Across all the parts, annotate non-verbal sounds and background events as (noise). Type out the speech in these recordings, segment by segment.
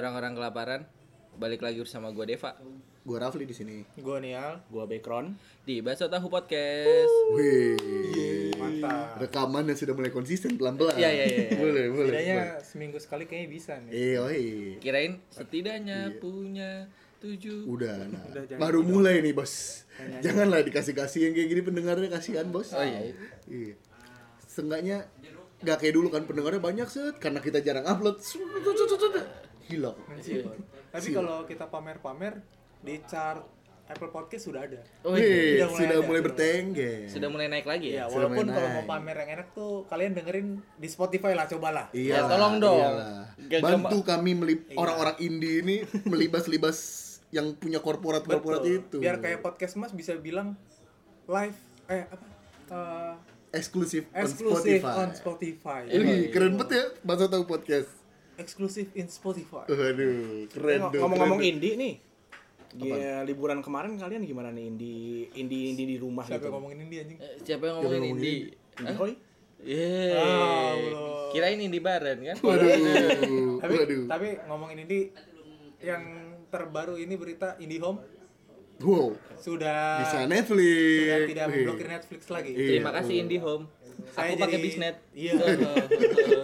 kelaparan, balik lagi bersama gue Deva Gue Rafli di sini. Gue Nial. Gua background. di Baso Tahu Podcast. Wih. Mantap. Rekaman yang sudah mulai konsisten pelan-pelan. Iya, iya, iya. boleh, boleh. Setidaknya boleh. seminggu sekali kayaknya bisa nih. Eh, oi. Kirain setidaknya punya tujuh. Udah, nah. jangan gitu Baru mulai nih, Bos. Janganlah dikasih-kasih yang kayak gini pendengarnya kasihan, Bos. Oh, iya. Iya. Seenggaknya nggak kayak dulu kan pendengarnya banyak set karena kita jarang upload. Hilang. Mensilat. Kan Tapi kalau kita pamer-pamer di chart Apple Podcast sudah ada. Oh, Wih, iya, Udah mulai sudah ada, mulai sudah. bertengger. Sudah mulai naik lagi Iya, ya. Sudah walaupun main kalau naik. mau pamer yang enak tuh kalian dengerin di Spotify lah, cobalah. Iya, Ya, tolong dong. Gak- Bantu gak- kami melip- orang-orang indie ini melibas-libas yang punya korporat-korporat itu. Biar kayak podcast Mas bisa bilang live eh apa? eh, eksklusif on eksklusif Spotify. on Iya, Spotify. Wih, keren banget ya, masa tahu podcast. Eksklusif in Spotify. Oh, Waduh, keren dong. Ngomong-ngomong keren dong. indie nih. Iya, liburan kemarin kalian gimana nih indie indie indie di rumah Siapa gitu? yang ngomongin ini anjing? Eh, Siapa yang ngomongin ngomongin Indi? Indie hoi. Yeay. Allah. Kirain Indi Baren kan? Iya, Waduh, tapi waduh. tapi ngomongin ini yang terbaru ini berita IndiHome Wow, sudah bisa Netflix. sudah tidak Wih. (laughs) memblokir Netflix lagi. Iya. Terima kasih Indi Home. Saya Aku pakai jadi- bisnet. Iya.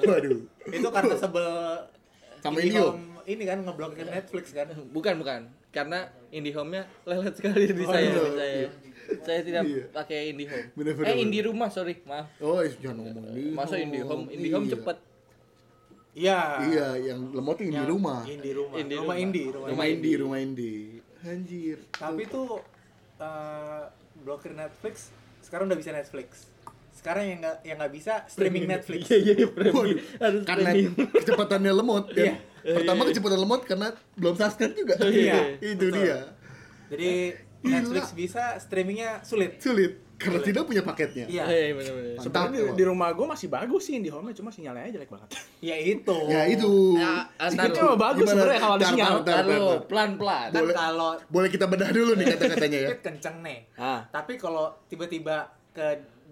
Waduh. itu karena sebel Sama IndiHome ini kan ngeblokir Iya. Netflix kan. (laughs) Bukan bukan, karena IndiHome-nya lelet sekali di saya. iya. di saya. saya tidak Iya. pakai IndiHome. Bener, bener, Eh bener. Indi rumah, sorry, maaf. Oh, eh, jangan ngomong di. Masa IndiHome, IndiHome cepet. Iya. Iya, yang lemot ini di rumah. Indi rumah. Indi rumah rumah. Indi, rumah Rumah Indi. indie, rumah indie. Anjir. Tapi tuh eh, blokir Netflix sekarang udah bisa Netflix. Sekarang yang nggak yang nggak bisa streaming (laughs) Netflix. iya iya, Waduh, harus karena kecepatannya (laughs) lemot Iya. kan. Pertama kecepatan lemot karena belum subscribe juga. Iya, Itu betul. dia. Jadi Netflix bisa streamingnya sulit. Sulit karena tidak punya paketnya. Iya. Iya, bener-bener. Mantap, Sebenarnya emang. di, di rumah gua masih bagus sih indie home cuma sinyalnya jelek banget. Ya itu. Ya itu. Ya, antar Itu lu. mah bagus Gimana? sebenarnya kalau ada Tar, sinyal. tar, tar, tar, Lalu tar. pelan-pelan. Kan Boleh- Iya. kalau Boleh kita bedah dulu nih kata-katanya ya. (laughs) speed kenceng nih. Ah. Tapi kalau tiba-tiba ke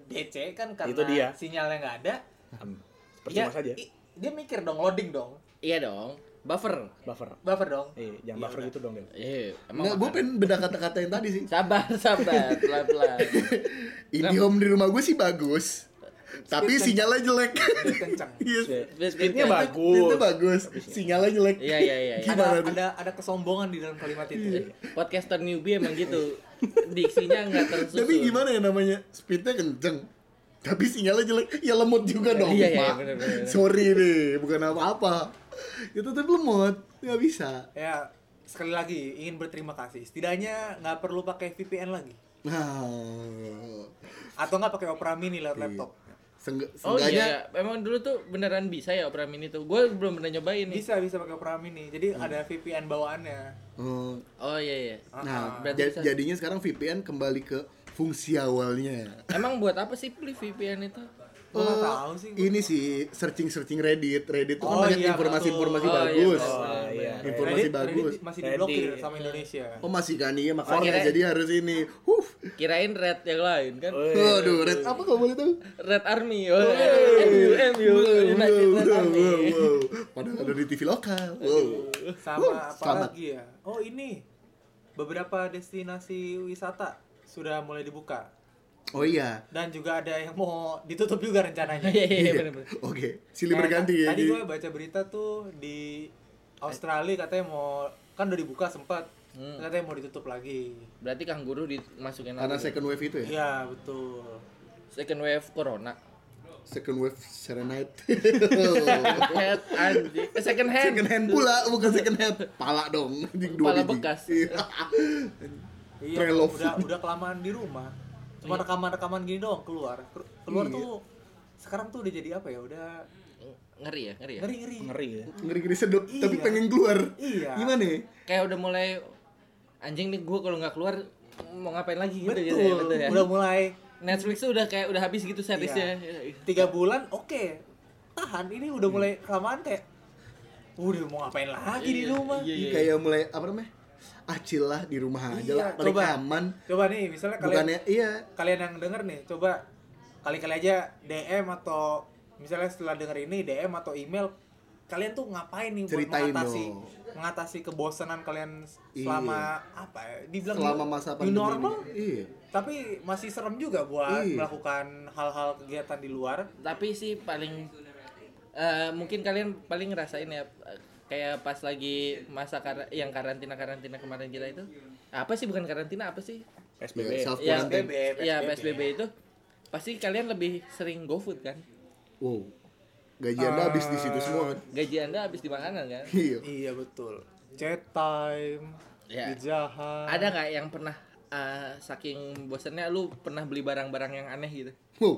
DC kan karena Itu dia. sinyalnya nggak ada, ya, Percuma saja. i- dia mikir dong loading dong, Iya dong, buffer. Buffer. buffer dong. Eh, jangan Ya buffer udah. gitu dong, Del. Iya, Enggak, gue makan. pengen bedah kata-kata yang tadi sih. Sabar, (laughs) sabar, pelan-pelan. IndiHome di rumah gue sih bagus. Tapi sinyalnya jelek. (laughs) Speed kenceng. Iya. Speednya Itu bagus. bagus. Sinyalnya jelek. Iya, iya, iya, iya. Gimana ada, tuh? ada ada kesombongan di dalam kalimat Iya. itu. Podcaster newbie emang gitu. Diksinya nggak tersusun. Tapi gimana ya namanya? Speednya kenceng. Tapi sinyalnya jelek. Ya lemot juga dong. Iya, iya, Pak. bener, bener, bener. Sorry nih, bukan apa-apa. Itu tapi lemot, nggak bisa. ya sekali lagi ingin berterima kasih. Setidaknya nggak perlu pakai VPN lagi Nah, atau nggak pakai Opera Mini Iya. lewat laptop. sengg- Oh iya, senggaknya iya. emang dulu tuh beneran bisa ya Opera Mini tuh. Gue belum pernah nyobain nih. Bisa bisa pakai Opera Mini. Jadi Hmm. ada VPN bawaannya. eh, Oh iya iya. Nah, Berarti ja- bisa. jadinya sekarang VPN kembali ke fungsi awalnya. Emang buat apa sih beli VPN itu? Gua Eh, nggak tahu sih. gua. Ini sih searching-searching Reddit. Reddit tuh kan Oh, banyak iya, informasi-informasi betul. Oh, iya, bagus. betul. Oh, iya. Informasi Reddit- bagus. Reddit masih Reddit. diblokir sama Indonesia. Oh masih kan iya makanya Akhirnya- jadi harus ini. Huh. Kirain red yang lain kan? Aduh, red apa kalau boleh tahu? Red Army. Oh, MU MU United Red Wow, Army. wow, wow. Padahal ada di TV lokal. Wow. Sama Wuh, apa selamat. lagi ya? Oh ini beberapa destinasi wisata sudah mulai dibuka Oh iya. dan juga ada yang mau ditutup juga (laughs) rencananya. (laughs) Iya iya benar-benar. Oke, silih Kayak berganti ta- ya. Nah, Tadi jadi- gue baca berita tuh di Australia katanya mau kan udah dibuka sempat Hmm. katanya mau ditutup lagi. Berarti kangguru dimasukin Karena lagi. second wave itu ya. Iya betul. Second wave corona. Second wave serenite. Head anjing. Eh, Second hand. (laughs) second hand pula, bukan second hand. Pala dong. Anjing, dua Pala biji. bekas. Iya. (laughs) Iya, Trail of- udah udah kelamaan di rumah. Cuma Iya. rekaman-rekaman gini doang keluar. Ker- Keluar Iya. tuh sekarang tuh udah jadi apa ya? Udah Ngeri ya, ngeri ya. ngeri-ngeri. Ngeri Iya, ya. Ngeri-ngeri sedot, tapi Iya. pengen keluar. Iya. Gimana ya? Kayak udah mulai anjing nih gua kalau nggak keluar mau ngapain lagi gitu Betul. gitu ya, betul ya. Udah mulai Netflix tuh udah kayak udah habis gitu seriesnya. tiga bulan, oke. Tahan ini udah mulai kelamaan kayak udah mau ngapain lagi di rumah. Iya, iya, iya. Kayak mulai apa namanya? Acil lah di rumah aja lah, Iya, paling coba. aman. Coba nih, misalnya kalian Bukannya iya, kalian yang denger nih, coba kali-kali aja DM atau misalnya setelah denger ini DM atau email kalian tuh ngapain nih buat ceritain mengatasi dong. mengatasi kebosanan kalian Iya. selama apa ya? Dibilang selama masa new pandemi normal, ini. Iya. tapi masih serem juga buat Iya. melakukan hal-hal kegiatan di luar. tapi sih paling eh, mungkin kalian paling ngerasain ya eh, kayak pas lagi masa kar yang karantina karantina kemarin kita itu apa sih bukan karantina apa sih PSBB. Self Iya, quarantine. ya psbb itu pasti kalian lebih sering GoFood kan Wow. Gaji Anda habis di Eh. situ semua kan? gaji anda habis di makanan kan Iya. Iya betul. Chat time, Iya. dijahat. ada nggak yang pernah eh, saking bosannya lu pernah beli barang-barang yang aneh (laughs) gitu Wow.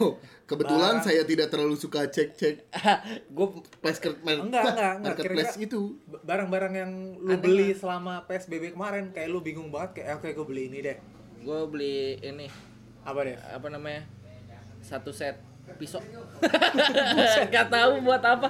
Wow. Kebetulan Barang. saya tidak terlalu suka cek-cek gue market Enggak, enggak, enggak. marketplace Kira-kira- itu. B- barang-barang yang lu Aneh beli selama PSBB kemarin kayak lu bingung banget kayak "Eh, oke gue beli ini deh. gue beli ini Apa deh? apa namanya satu set (laughs) pisau nggak tahu buat apa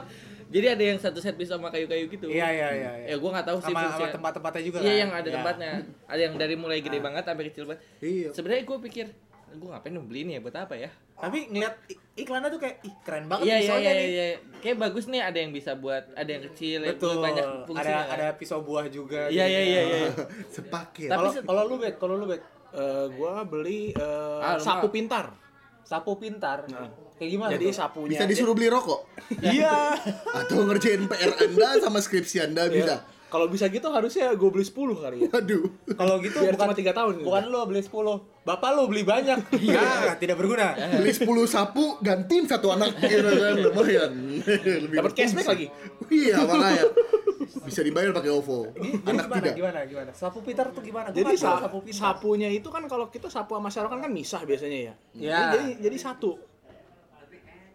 jadi ada yang satu set pisau sama kayu-kayu gitu Iya, iya, iya. ya iya. gue nggak tahu sih Sama, sama fungsinya. tempat-tempatnya juga iya kan? yang ada Iya. Ah. tempatnya ada yang dari mulai gede banget sampai kecil banget Iya. sebenarnya gue pikir gue ngapain beli ini ya buat apa ya Tapi ngeliat i- iklannya tuh kayak ih keren banget iya iya Oh, iya pisaunya nih. iya kayak bagus nih ada yang bisa buat ada yang kecil yang Betul. banyak ada fungsinya kan? ada pisau buah juga. gitu ya. iya iya iya (laughs) iya (laughs) Sepaket. Tapi Kalau se- kalau lu bet, kalau lu bet Eh, gua beli eh, Ah, lupa. sapu pintar. sapu pintar. Nah. Kayak gimana? Jadi tuh? sapunya Bisa ya. disuruh beli rokok Iya. atau ngerjain PR Anda sama skripsi Anda Ya. Iya. bisa. Kalau bisa gitu harusnya gua beli 10 kali ya. Waduh. kalau gitu Biar bukan cuma 3 tahun gitu. bukan lu beli 10. Bapak lu beli banyak. Iya, tidak (laughs) berguna. Beli 10 sapu gantiin satu anak (laughs) gitu kan lumayan. Lebih Dapat cashback berfungsi. lagi. Iya, makanya. Bisa dibayar pakai OVO. Jadi Anak gimana, tidak. gimana gimana? Sapu pintar tuh gimana? Gua Jadi nggak tahu sa- sapunya itu kan kalau kita sapu sama serokan kan misah biasanya ya. Iya. Jadi- Jadi jadi satu.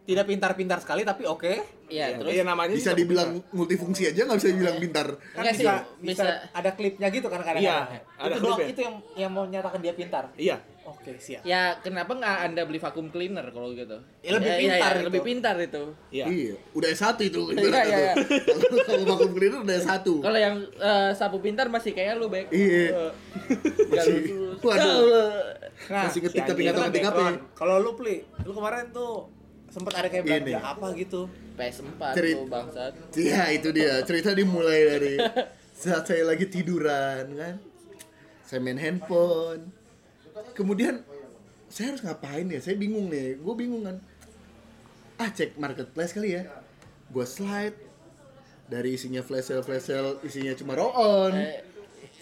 tidak pintar-pintar sekali tapi oke. iya Ya, terus ya, namanya sih Bisa sapu dibilang multifungsi aja nggak bisa dibilang pintar. Kan Enggak sih, bisa, bisa bisa. ada klipnya gitu kan kadang-kadang. Iya, ada itu doang klipnya. itu yang yang mau menyatakan dia pintar. pintar. Iya. Oke, siap. ya kenapa nggak anda beli vacuum cleaner kalau gitu Ya, lebih pintar gitu. lebih pintar itu Iya. Iya, udah S1 itu Iya, ibaratnya iya, iya. tuh. Kalau vakum cleaner udah S1. Kalau yang eh, sapu pintar masih kayak lu, Bek. Iya. Nggak Masih. lulus. Waduh. Nah, Masih si ngetik tapi anjing. nggak tahu ngetik Itu kan apa ya. background. Kalau lu pli, lu kemarin tuh sempet ada kayak Ini. belanja apa gitu. PS4 Cerit- lu bangsat. Iya, itu dia. Cerita dimulai dari saat saya lagi tiduran kan. Saya main handphone. Kemudian saya harus ngapain ya? Saya bingung nih. Gue bingung kan. Ah, cek marketplace kali ya. Gue slide dari isinya flash sale, flash sale, isinya cuma roll on. Eh,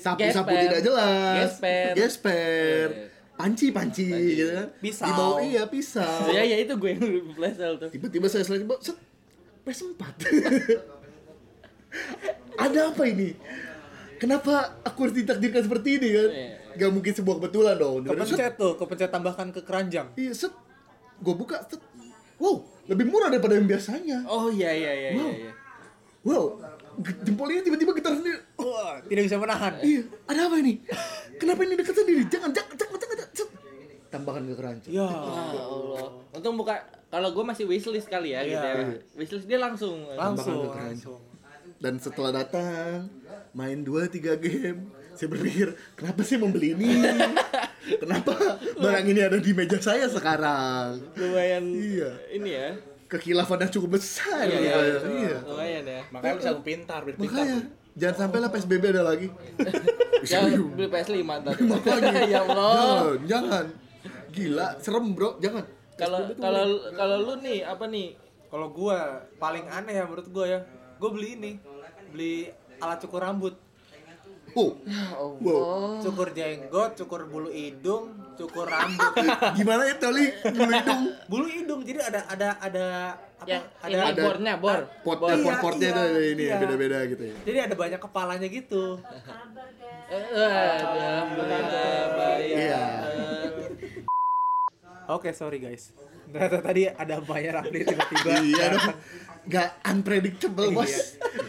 sapu-sapu gesper. tidak jelas Gesper. gesper Iya. panci-panci gitu kan Pisau. di bawah iya pisau (laughs) ya ya itu gue yang lebih flash tuh. tiba-tiba saya selain tiba set PS4 (laughs) ada apa ini kenapa aku harus ditakdirkan seperti ini kan Iya. gak mungkin sebuah kebetulan dong Kepencet tuh, kepencet tambahkan ke keranjang. iya set gue buka set wow lebih murah daripada yang biasanya Oh iya iya iya iya. iya. wow ge- jempolnya tiba-tiba getar sendiri Wah, tidak bisa menahan. iya ada apa ini kenapa ini dekat sendiri jangan jangan jangan jangan jangan. set tambahkan ke keranjang Ya. Ya Allah. Untung buka kalau gue masih wishlist kali ya gitu ya. Wishlist dia langsung. Langsung, Tambahkan ke langsung. dan setelah datang main 2-3 game saya berpikir kenapa sih membeli ini kenapa barang ini ada di meja saya sekarang Lumayan Iya. ini ya. kekilafannya cukup besar Iya, ya, iya, iya, Lumayan ya. Makanya bisa sapu pintar, beli pintar. makanya jangan sampai lah PSBB ada (laughs) lagi Ya Serius. beli PS5 tadi. makanya (laughs) ya Allah. jangan jangan gila serem bro jangan Kalau Iya. kalau kalau lu nih apa nih? Kalau gua paling aneh ya menurut gua ya. Gua beli ini. Beli alat cukur rambut. oh Ya wow Cukur jenggot, cukur bulu hidung, cukur (laughs) rambut. gimana ya, itu li bulu hidung Iya, bulu hidung jadi ada ada ada apa? Yang ada, Ya, ini ada- bornya bor. pot Bor. eh, pot potnya Iya, itu ada ini ya iya. beda-beda gitu ya jadi ada banyak kepalanya gitu. Eh, eh, Alhamdulillah baik. iya Oke, sorry guys. Ternyata tadi ada bayar update tiba-tiba. iya dong nggak unpredictable Iya. bos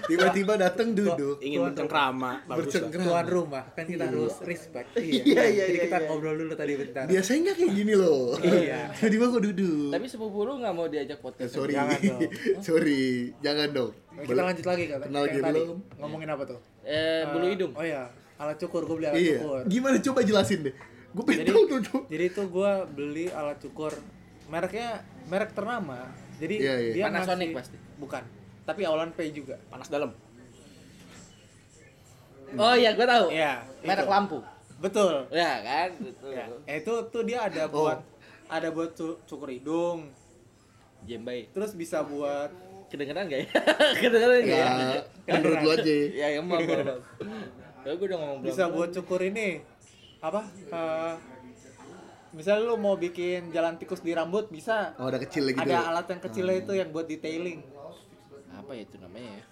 tiba-tiba datang duduk Ingin bercengkrama, bagus lah. bercengkrama Tuan rumah kan kita harus (laughs) respect. Iya, iya, Jadi iya, kita iya. ngobrol dulu tadi bentar. biasanya nggak kayak gini loh Iya. tiba-tiba aku duduk Tapi sepupu lu nggak mau diajak Eh, podcast. sorry Jangan dong. (laughs) sorry jangan dong Kita lanjut lagi kan. kenal Kayak lagi tadi. belum Ngomongin apa tuh? Eh, bulu hidung. Oh iya, alat cukur gue beli alat iya cukur. gimana coba jelasin deh gue pengen (laughs) Jadi- tahu tuh Dok. Jadi itu gue beli alat cukur mereknya merek ternama. Jadi Iya, iya. dia Panasonic ngasih- pasti. Bukan, tapi awalan P juga. Panas dalam. Oh iya, gua tahu. Iya, Merek itu. lampu. Betul. Ya kan? Betul. Ya, itu tuh dia ada Oh. buat ada buat cu- cukur hidung, Jembai. terus bisa buat Kedengeran gak ya? (laughs) Iya, Kedengeran gak ya? Ya, menurut lu aja. Ya, ya mau. Ya gua udah ngomong bisa belum. buat cukur ini apa? eh, misal lu mau bikin jalan tikus di rambut bisa. Oh, ada kecil gitu. Oh. Ada alat yang kecilnya itu yang buat detailing. apa ya itu namanya ya?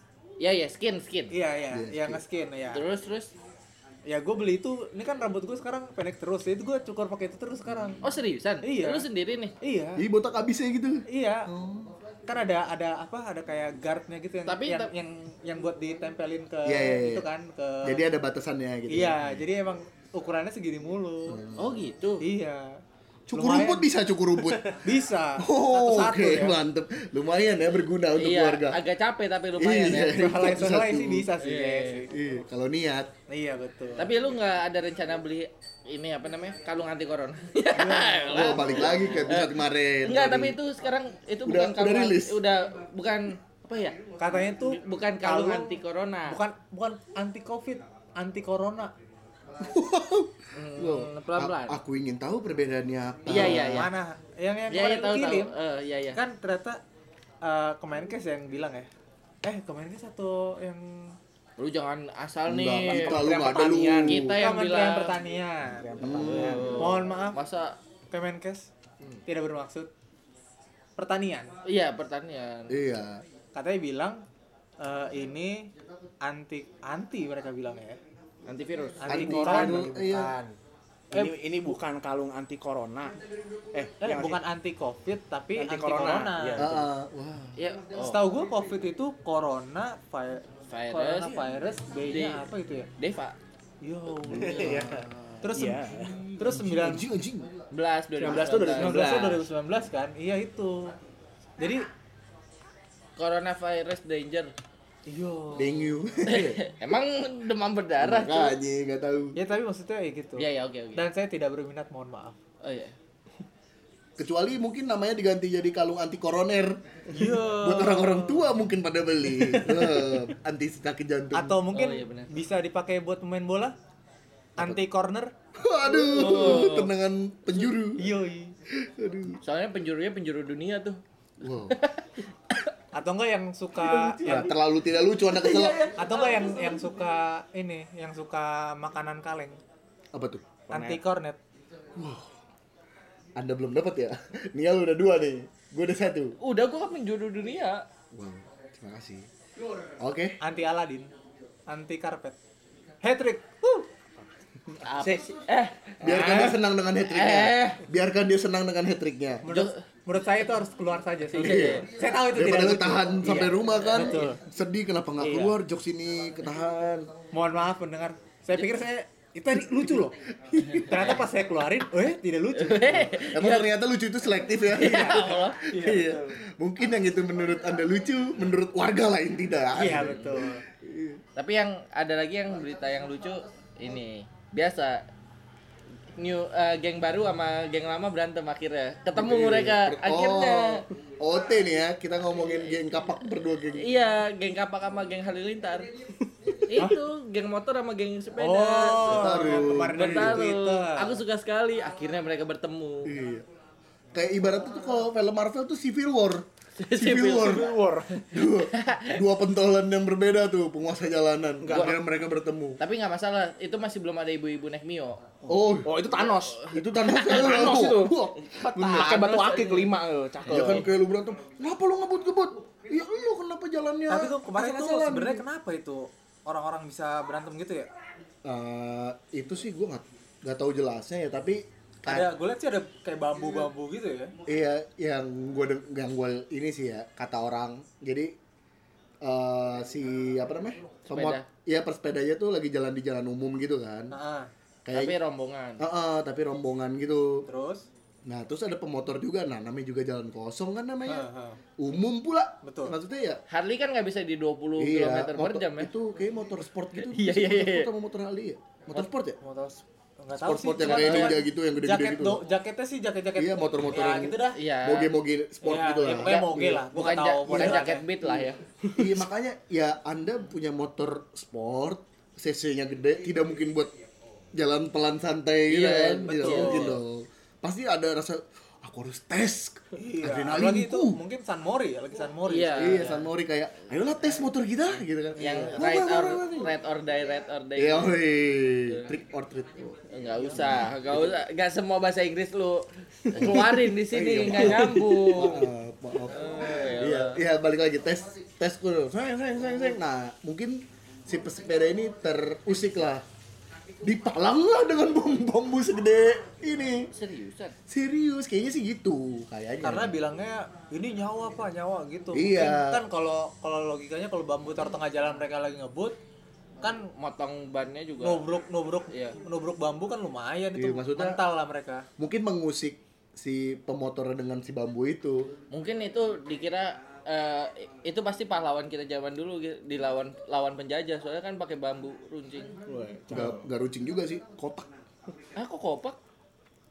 Ya ya, skin skin. Iya iya, Iya, yang nge-skin ya. Terus terus. Ya gue beli itu, ini kan rambut gue sekarang pendek terus, itu gue cukur pakai itu terus sekarang. Oh seriusan? Iya. Lu sendiri nih. Iya, Jadi botak abisnya gitu. iya. Kan ada ada apa? Ada kayak guardnya gitu yang Tapi- yang, tapi- yang yang buat ditempelin ke Iya, iya, iya. itu kan ke Jadi ada batasannya gitu. Iya, jadi emang ukurannya segini mulu. Oh gitu. Iya. Cukur Lumayan. rumput bisa cukur (laughs) rumput. (laughs) bisa. Oh, Satu-satu Oke, ya. mantep. Lumayan ya berguna untuk iya, keluarga. agak capek tapi lumayan Iya. ya. Sehelai-sehelai Satu-satu. sih bisa sih, Iya, ya, iya. sih. Iya, kalau niat. Iya, betul. Tapi lu nggak ada rencana beli ini apa namanya? Kalung anti corona. (laughs) Wah, oh, balik lagi kayak bisa kemarin. Iya. Enggak, Tadi. tapi itu sekarang itu Udah- bukan udah kalung anti- rilis? udah bukan apa ya? Katanya tuh Bukan kalung anti nah. corona. bukan bukan anti covid, anti corona. Wow. Hmm, pelan-pelan. A- Oh, aku ingin tahu perbedaannya apa. Iya, iya, iya. Mana? Yang yang Iya, kan kemarin iya tahu tahu. kirim. Eh, iya iya. Kan ternyata eh, Kemenkes yang bilang ya. Eh, Kemenkes atau yang Lu jangan asal nih. Enggak, kita lu Kementerian enggak ada lu. Pertanian. Kita yang Kementerian bilang Oh. Pertanian. Hmm. Mohon maaf, masa Kemenkes Hmm. tidak bermaksud pertanian. iya pertanian. Iya. Katanya bilang eh, ini anti anti mereka bilang ya. Eh. Antivirus. Anti Anti corona. virus. Iya. Ini ini bukan kalung anti corona. Eh, Eh, yang bukan anti covid tapi anti, Anti corona. corona. Iya. Ah, ah, wah. Ya, oh. Setahu gue covid itu corona vi- Virus. corona virus B-nya Di- apa gitu ya? oh. Deva Yo. (laughs) Iya. Eh, Terus Iya. terus 9 Anjing, anjing. 11 19 tuh 2019. 19 2019 kan? Iya itu. Jadi Coronavirus danger. (laughs) Iya. yo. Dengue. Emang demam berdarah cuy. Makanya enggak tahu. Ya tapi maksudnya ya gitu. Iya ya oke oke. Dan saya tidak berminat, mohon maaf. Oh iya. Kecuali mungkin namanya diganti jadi kalung anti koroner. Iya. Yo. Buat orang-orang tua mungkin pada beli. Eh, anti sakit jantung. Atau mungkin Oh, iya benar. bisa dipakai buat pemain bola? Anti corner? Aduh, Oh. tendangan penjuru. Yoi. Aduh. Soalnya penjurunya penjuru dunia tuh. (laughs) Wow. Atau enggak yang Iya, suka Ya, terlalu tidak lucu Iya. anak kesel. atau enggak yang yang suka ini, yang suka makanan kaleng? Apa tuh? Anti cornet. Anda belum dapat ya? (laughs) Nial udah dua nih. Gue udah satu. Udah gua kan penjuru dunia. Wow, terima kasih. Oke. anti Aladin, anti karpet, hat trick. Huh. Apa sih? Eh, Biarkan dia senang dengan hat-tricknya. Eh. Biarkan dia senang dengan hat-tricknya. Menurut, menurut saya itu harus keluar saja. Saya, Iya. saya tahu itu Daripada tidak lucu. ketahan sampai rumah kan. Betul. Iya. Sedih kenapa nggak keluar jokes ini ketahan. Mohon maaf pendengar. Saya pikir saya itu tadi lucu loh. Ternyata pas saya keluarin, eh tidak lucu. Emang ternyata lucu itu selektif ya. Iya. Iya. Mungkin yang itu menurut Anda lucu, menurut warga lain tidak. Iya betul. tapi yang ada lagi yang berita yang lucu ini. Biasa new eh, geng baru sama geng lama berantem akhirnya. Ketemu mereka Iya, akhirnya. Iya, Oh, OT nih ya, kita ngomongin geng kapak berdua geng. Iya, geng kapak sama geng (laughs) halilintar. Itu geng motor sama geng sepeda. Oh, Bertaruh. yang kemarin ada di bertarung. Twitter. Aku suka sekali. Akhirnya mereka bertemu. Iya. Kayak ibaratnya tuh kalau film Marvel tuh Civil War. Civil Civil War. war. Dua, dua pentolan yang berbeda tuh, penguasa jalanan. Enggak. Akhirnya mereka bertemu. Tapi nggak masalah, itu masih belum ada ibu-ibu naik Mio. Oh, Oh, itu Thanos. itu Thanos. ya? Thanos itu. Wah, bener. Pakai batu akik kelima lo, cakep. Ya kan kayak lu berantem, kenapa lu ngebut-ngebut? Ya lu kenapa jalannya? Tapi tuh kemarin tuh asal-asalan?" sebenarnya kenapa itu orang-orang bisa berantem gitu ya? Eh, itu sih gue nggak nggak tahu jelasnya ya tapi Ada, gue lihat sih ada kayak bambu-bambu gitu ya. iya yang gue yang gua ini sih ya kata orang jadi eh si apa namanya Sepeda. iya persepedanya tuh lagi jalan di jalan umum gitu kan Nah, Tapi kayak rombongan. Heeh, tapi rombongan gitu terus, nah terus ada pemotor juga nah namanya juga jalan kosong kan namanya Heeh. umum pula Betul. maksudnya ya iya, Harley kan nggak bisa di 20 Iya. km per Oh, motor- jam ya. itu kayak motor sport gitu Iya, iya, motor iya. sport sama motor Harley ya motor sport ya motor nggak tahu sih. Sport-sport yang cuman kayak ninja kayak gitu, yang gede-gede jaket gitu. do- jaketnya sih jaket-jaket. Iya, motor-motor ya, yang- gitu dah. Iya. moge-moge sport Iya, gitu lah iya, pokoknya moge lah. Gua Bukan, nggak ja- tahu bukan modelnya. jaket beat lah ya. Iya makanya ya Anda punya motor sport CC-nya gede, tidak mungkin buat jalan pelan santai gitu Iya, kan. Tidak betul. mungkin dong. Pasti ada rasa aku harus tes Iya, Apalagi itu adrenalinku. mungkin San Mori ya, lagi San Mori. Iya. Iya, San Mori kayak, ayolah tes motor kita gitu kan. yang Iya. right or Wah, wah, wah, wah. right or die right or die Iya, woi. trick or treat. nggak usah nggak usah nggak semua bahasa Inggris lu keluarin di Iya. sini nggak (laughs) nyambung Maaf, maaf. ya Iya, iya balik lagi tes tes dulu. Seng, seng, seng, seng. Nah, mungkin si pesepeda ini terusik lah. Dipalang lah dengan bom bambu segede ini. seriusan Serius, kayaknya sih gitu kayaknya. Karena bilangnya ini nyawa pak nyawa gitu. Iya. Mungkin Kan kalau kalau logikanya kalau bambu taruh tengah jalan mereka lagi ngebut kan motong bannya juga nubruk nubruk Iya. nubruk bambu kan lumayan itu Iya, maksudnya- mental lah mereka. mungkin mengusik si pemotor dengan si bambu itu. mungkin itu dikira eh, itu pasti pahlawan kita zaman dulu gitu, dilawan lawan penjajah soalnya kan pakai bambu runcing Gak, gak rucing juga sih, kotak. ah kok kopak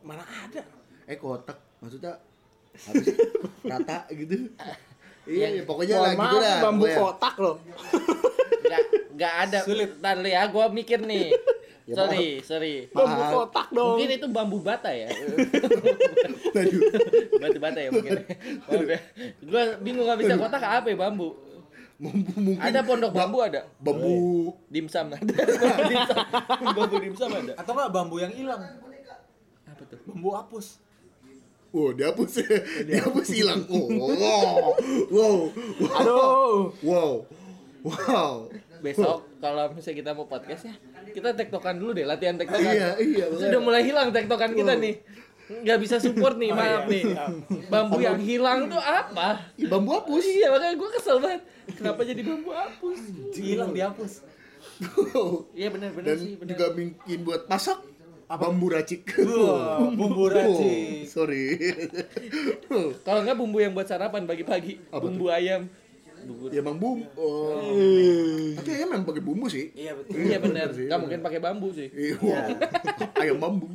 Mana ada? Eh kotak, maksudnya apa sih? rata gitu. Iya, pokoknya Mohon lah gitu maaf, dah. bambu pokoknya. kotak loh. nggak nggak ada Sulit. Ntar lu ya gua mikir nih (laughs) Ya, sorry sorry (laughs) Bambu Maaf. kotak dong. mungkin itu bambu bata (laughs) ya Waduh. batu bata ya mungkin Maaf ya. gua bingung nggak bisa kotak apa ya bambu Bambu mungkin ada pondok bambu ada bambu dimsum ada bambu dimsum bambu dimsum ada Atau nggak bambu yang hilang, apa tuh bambu apus. Wow, dihapus ya. Dihapus hilang. Oh, wow. Wow. Aduh. Wow. Wow. besok kalau misalnya kita mau podcast ya kita tektokan dulu deh latihan tektokan Iya, iya, bener. sudah mulai hilang tektokan kita nih nggak bisa support nih Iya. maaf nih bambu yang hilang tuh apa Ih, Bambu hapus. iya makanya gue kesel banget kenapa jadi bambu hapus Hilang dihapus. Wow. iya benar benar Dan sih benar juga mungkin buat masak bambu racik. (laughs) Wah, Wow, bumbu racik. sorry. (laughs) Wow. kalau nggak bumbu yang buat sarapan pagi-pagi bumbu ayam bumbu ya emang bumbu. Oh. Tapi ayam memang pakai bumbu sih. Iya betul. iya benar sih, nggak mungkin pakai bambu sih Iya. Wow. (laughs) Ayam bambu.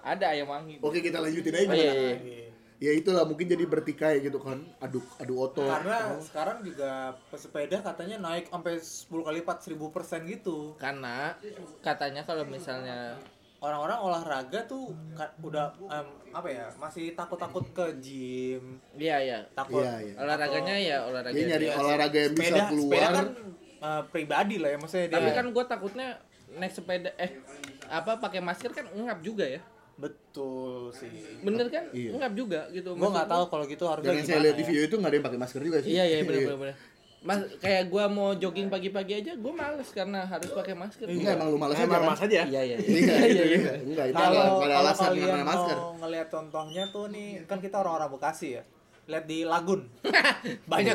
ada ayam wangi Oke, kita lanjutin aja Oh, iya, gimana? iya. Ya itulah mungkin jadi bertikai gitu kan. Aduk adu otot. Karena sekarang juga pesepeda katanya naik sampai 10 kali lipat 1000 persen gitu. karena katanya kalau misalnya Orang-orang olahraga tuh ka- udah em, apa ya masih takut-takut ke gym, iya iya takut Iya, iya. olahraganya ya olahraga Dia nyari biasa. olahraga yang bisa sepeda sepeda keluar. kan eh, pribadi lah ya maksudnya dia. tapi kan gue takutnya naik sepeda eh apa pakai masker kan ngap juga ya betul sih. bener kan Iya. ngap juga gitu Gua nggak tahu Maksud kalau gitu harga Dan yang saya gimana. lihat di ya. video itu nggak ada yang pakai masker juga gua- sih. iya iya bener bener bener mas kayak gue mau jogging pagi-pagi aja gue males karena harus pakai masker Enggak emang lu malas aja. Emang kan? mas aja. iya iya iya Iya iya iya. Enggak itu Kalau nggak ada kalau alasan kalian karena mau masker. ngelihat contohnya tuh nih kan kita orang-orang Bekasi ya. Lihat di (laughs) Lagun. banyak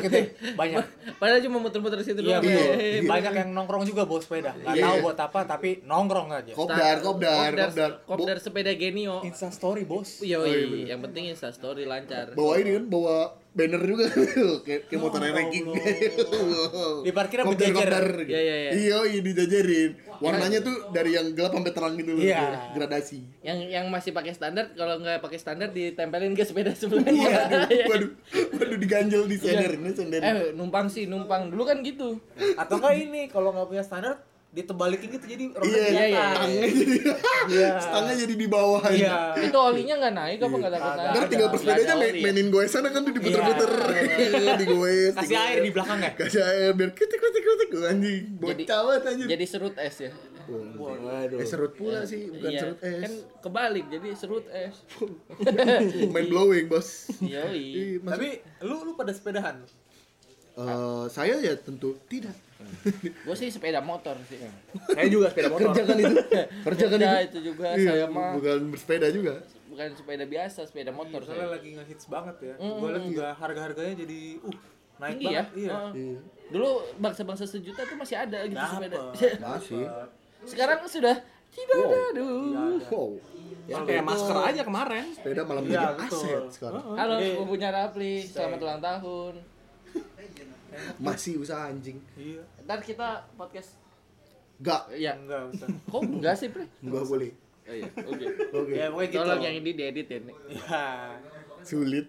Banyak. itu, banyak. (laughs) padahal cuma muter-muter situ Iya, doang betul. Eh, Iya. banyak yang nongkrong juga bawa sepeda. Gak Iya. tahu buat apa tapi nongkrong aja. Kopdar, kopdar, kopdar kopdar. kopdar sepeda genio Insta story, Bos. Yoi, Oh, iya, bener. yang penting insta story lancar Bawa ini kan bawa banner juga (laughs) kayak Ya kayak motor ranking. (laughs) Di parkiran Kopdar, berjejer. kopdar. Iya, iya, iya. Iya, iya dijajarin. Warnanya tuh dari yang gelap sampai terang gitu loh. Iya. Gradasi. yang yang masih pakai standar kalau nggak pakai standar ditempelin ke (laughs) sepeda Iya, sebelahnya Waduh, waduh, waduh diganjel di sender ini sender. eh numpang sih numpang dulu kan gitu Eh, Atau enggak ini kalau nggak punya standar ditebalikin gitu jadi roda Iya, di iya, iya. atas. Stangnya jadi, Iya. stangnya jadi di bawah. Iya. itu olinya nggak naik apa nggak takut Nggak naik Ntar ada. tinggal Nggak pesepedanya ada main, oli. mainin goesan kan tuh diputer-puter (laughs) digoes. Kasih digoes. air di belakang ya. Kasih air biar kritik kritik kritik Wah, anjing. Jadi- Bocah banget anjing. jadi serut es ya Waduh. Eh serut pula sih, bukan iya serut es. kan kebalik jadi serut es (laughs) Main blowing, Bos. yoi Ih, maksud- Tapi lu lu pada sepedahan. Eh, saya ya tentu tidak. gue sih sepeda motor sih Saya juga sepeda motor. Kerjakan itu. Kerjakan Kerja itu. itu juga, Iya, saya mah. Bukan bersepeda juga. bukan sepeda biasa sepeda motor Iya. Soalnya saya lagi ngehits banget ya. Gua lihat juga harga-harganya jadi uh naik tinggi ya banget. Iya. Heeh. Iya. dulu bangsa-bangsa sejuta tuh masih ada gitu Dapet. Iya, sepeda Masih. (laughs) sekarang sudah tidak ada aduh Wow. Ya kayak masker aja kemarin. Sepeda malah Iya, menjadi betul. aset sekarang. halo Iya. punya Rapli selamat ulang tahun Masih usaha anjing. Iya. ntar kita podcast Gak, ya Enggak usah. kok enggak sih Pri nggak boleh. oh, (laughs) iya. oke Oke. Ya pokoknya gitu. tolong yang ini diedit ya (laughs) Nek. Iya. Sulit.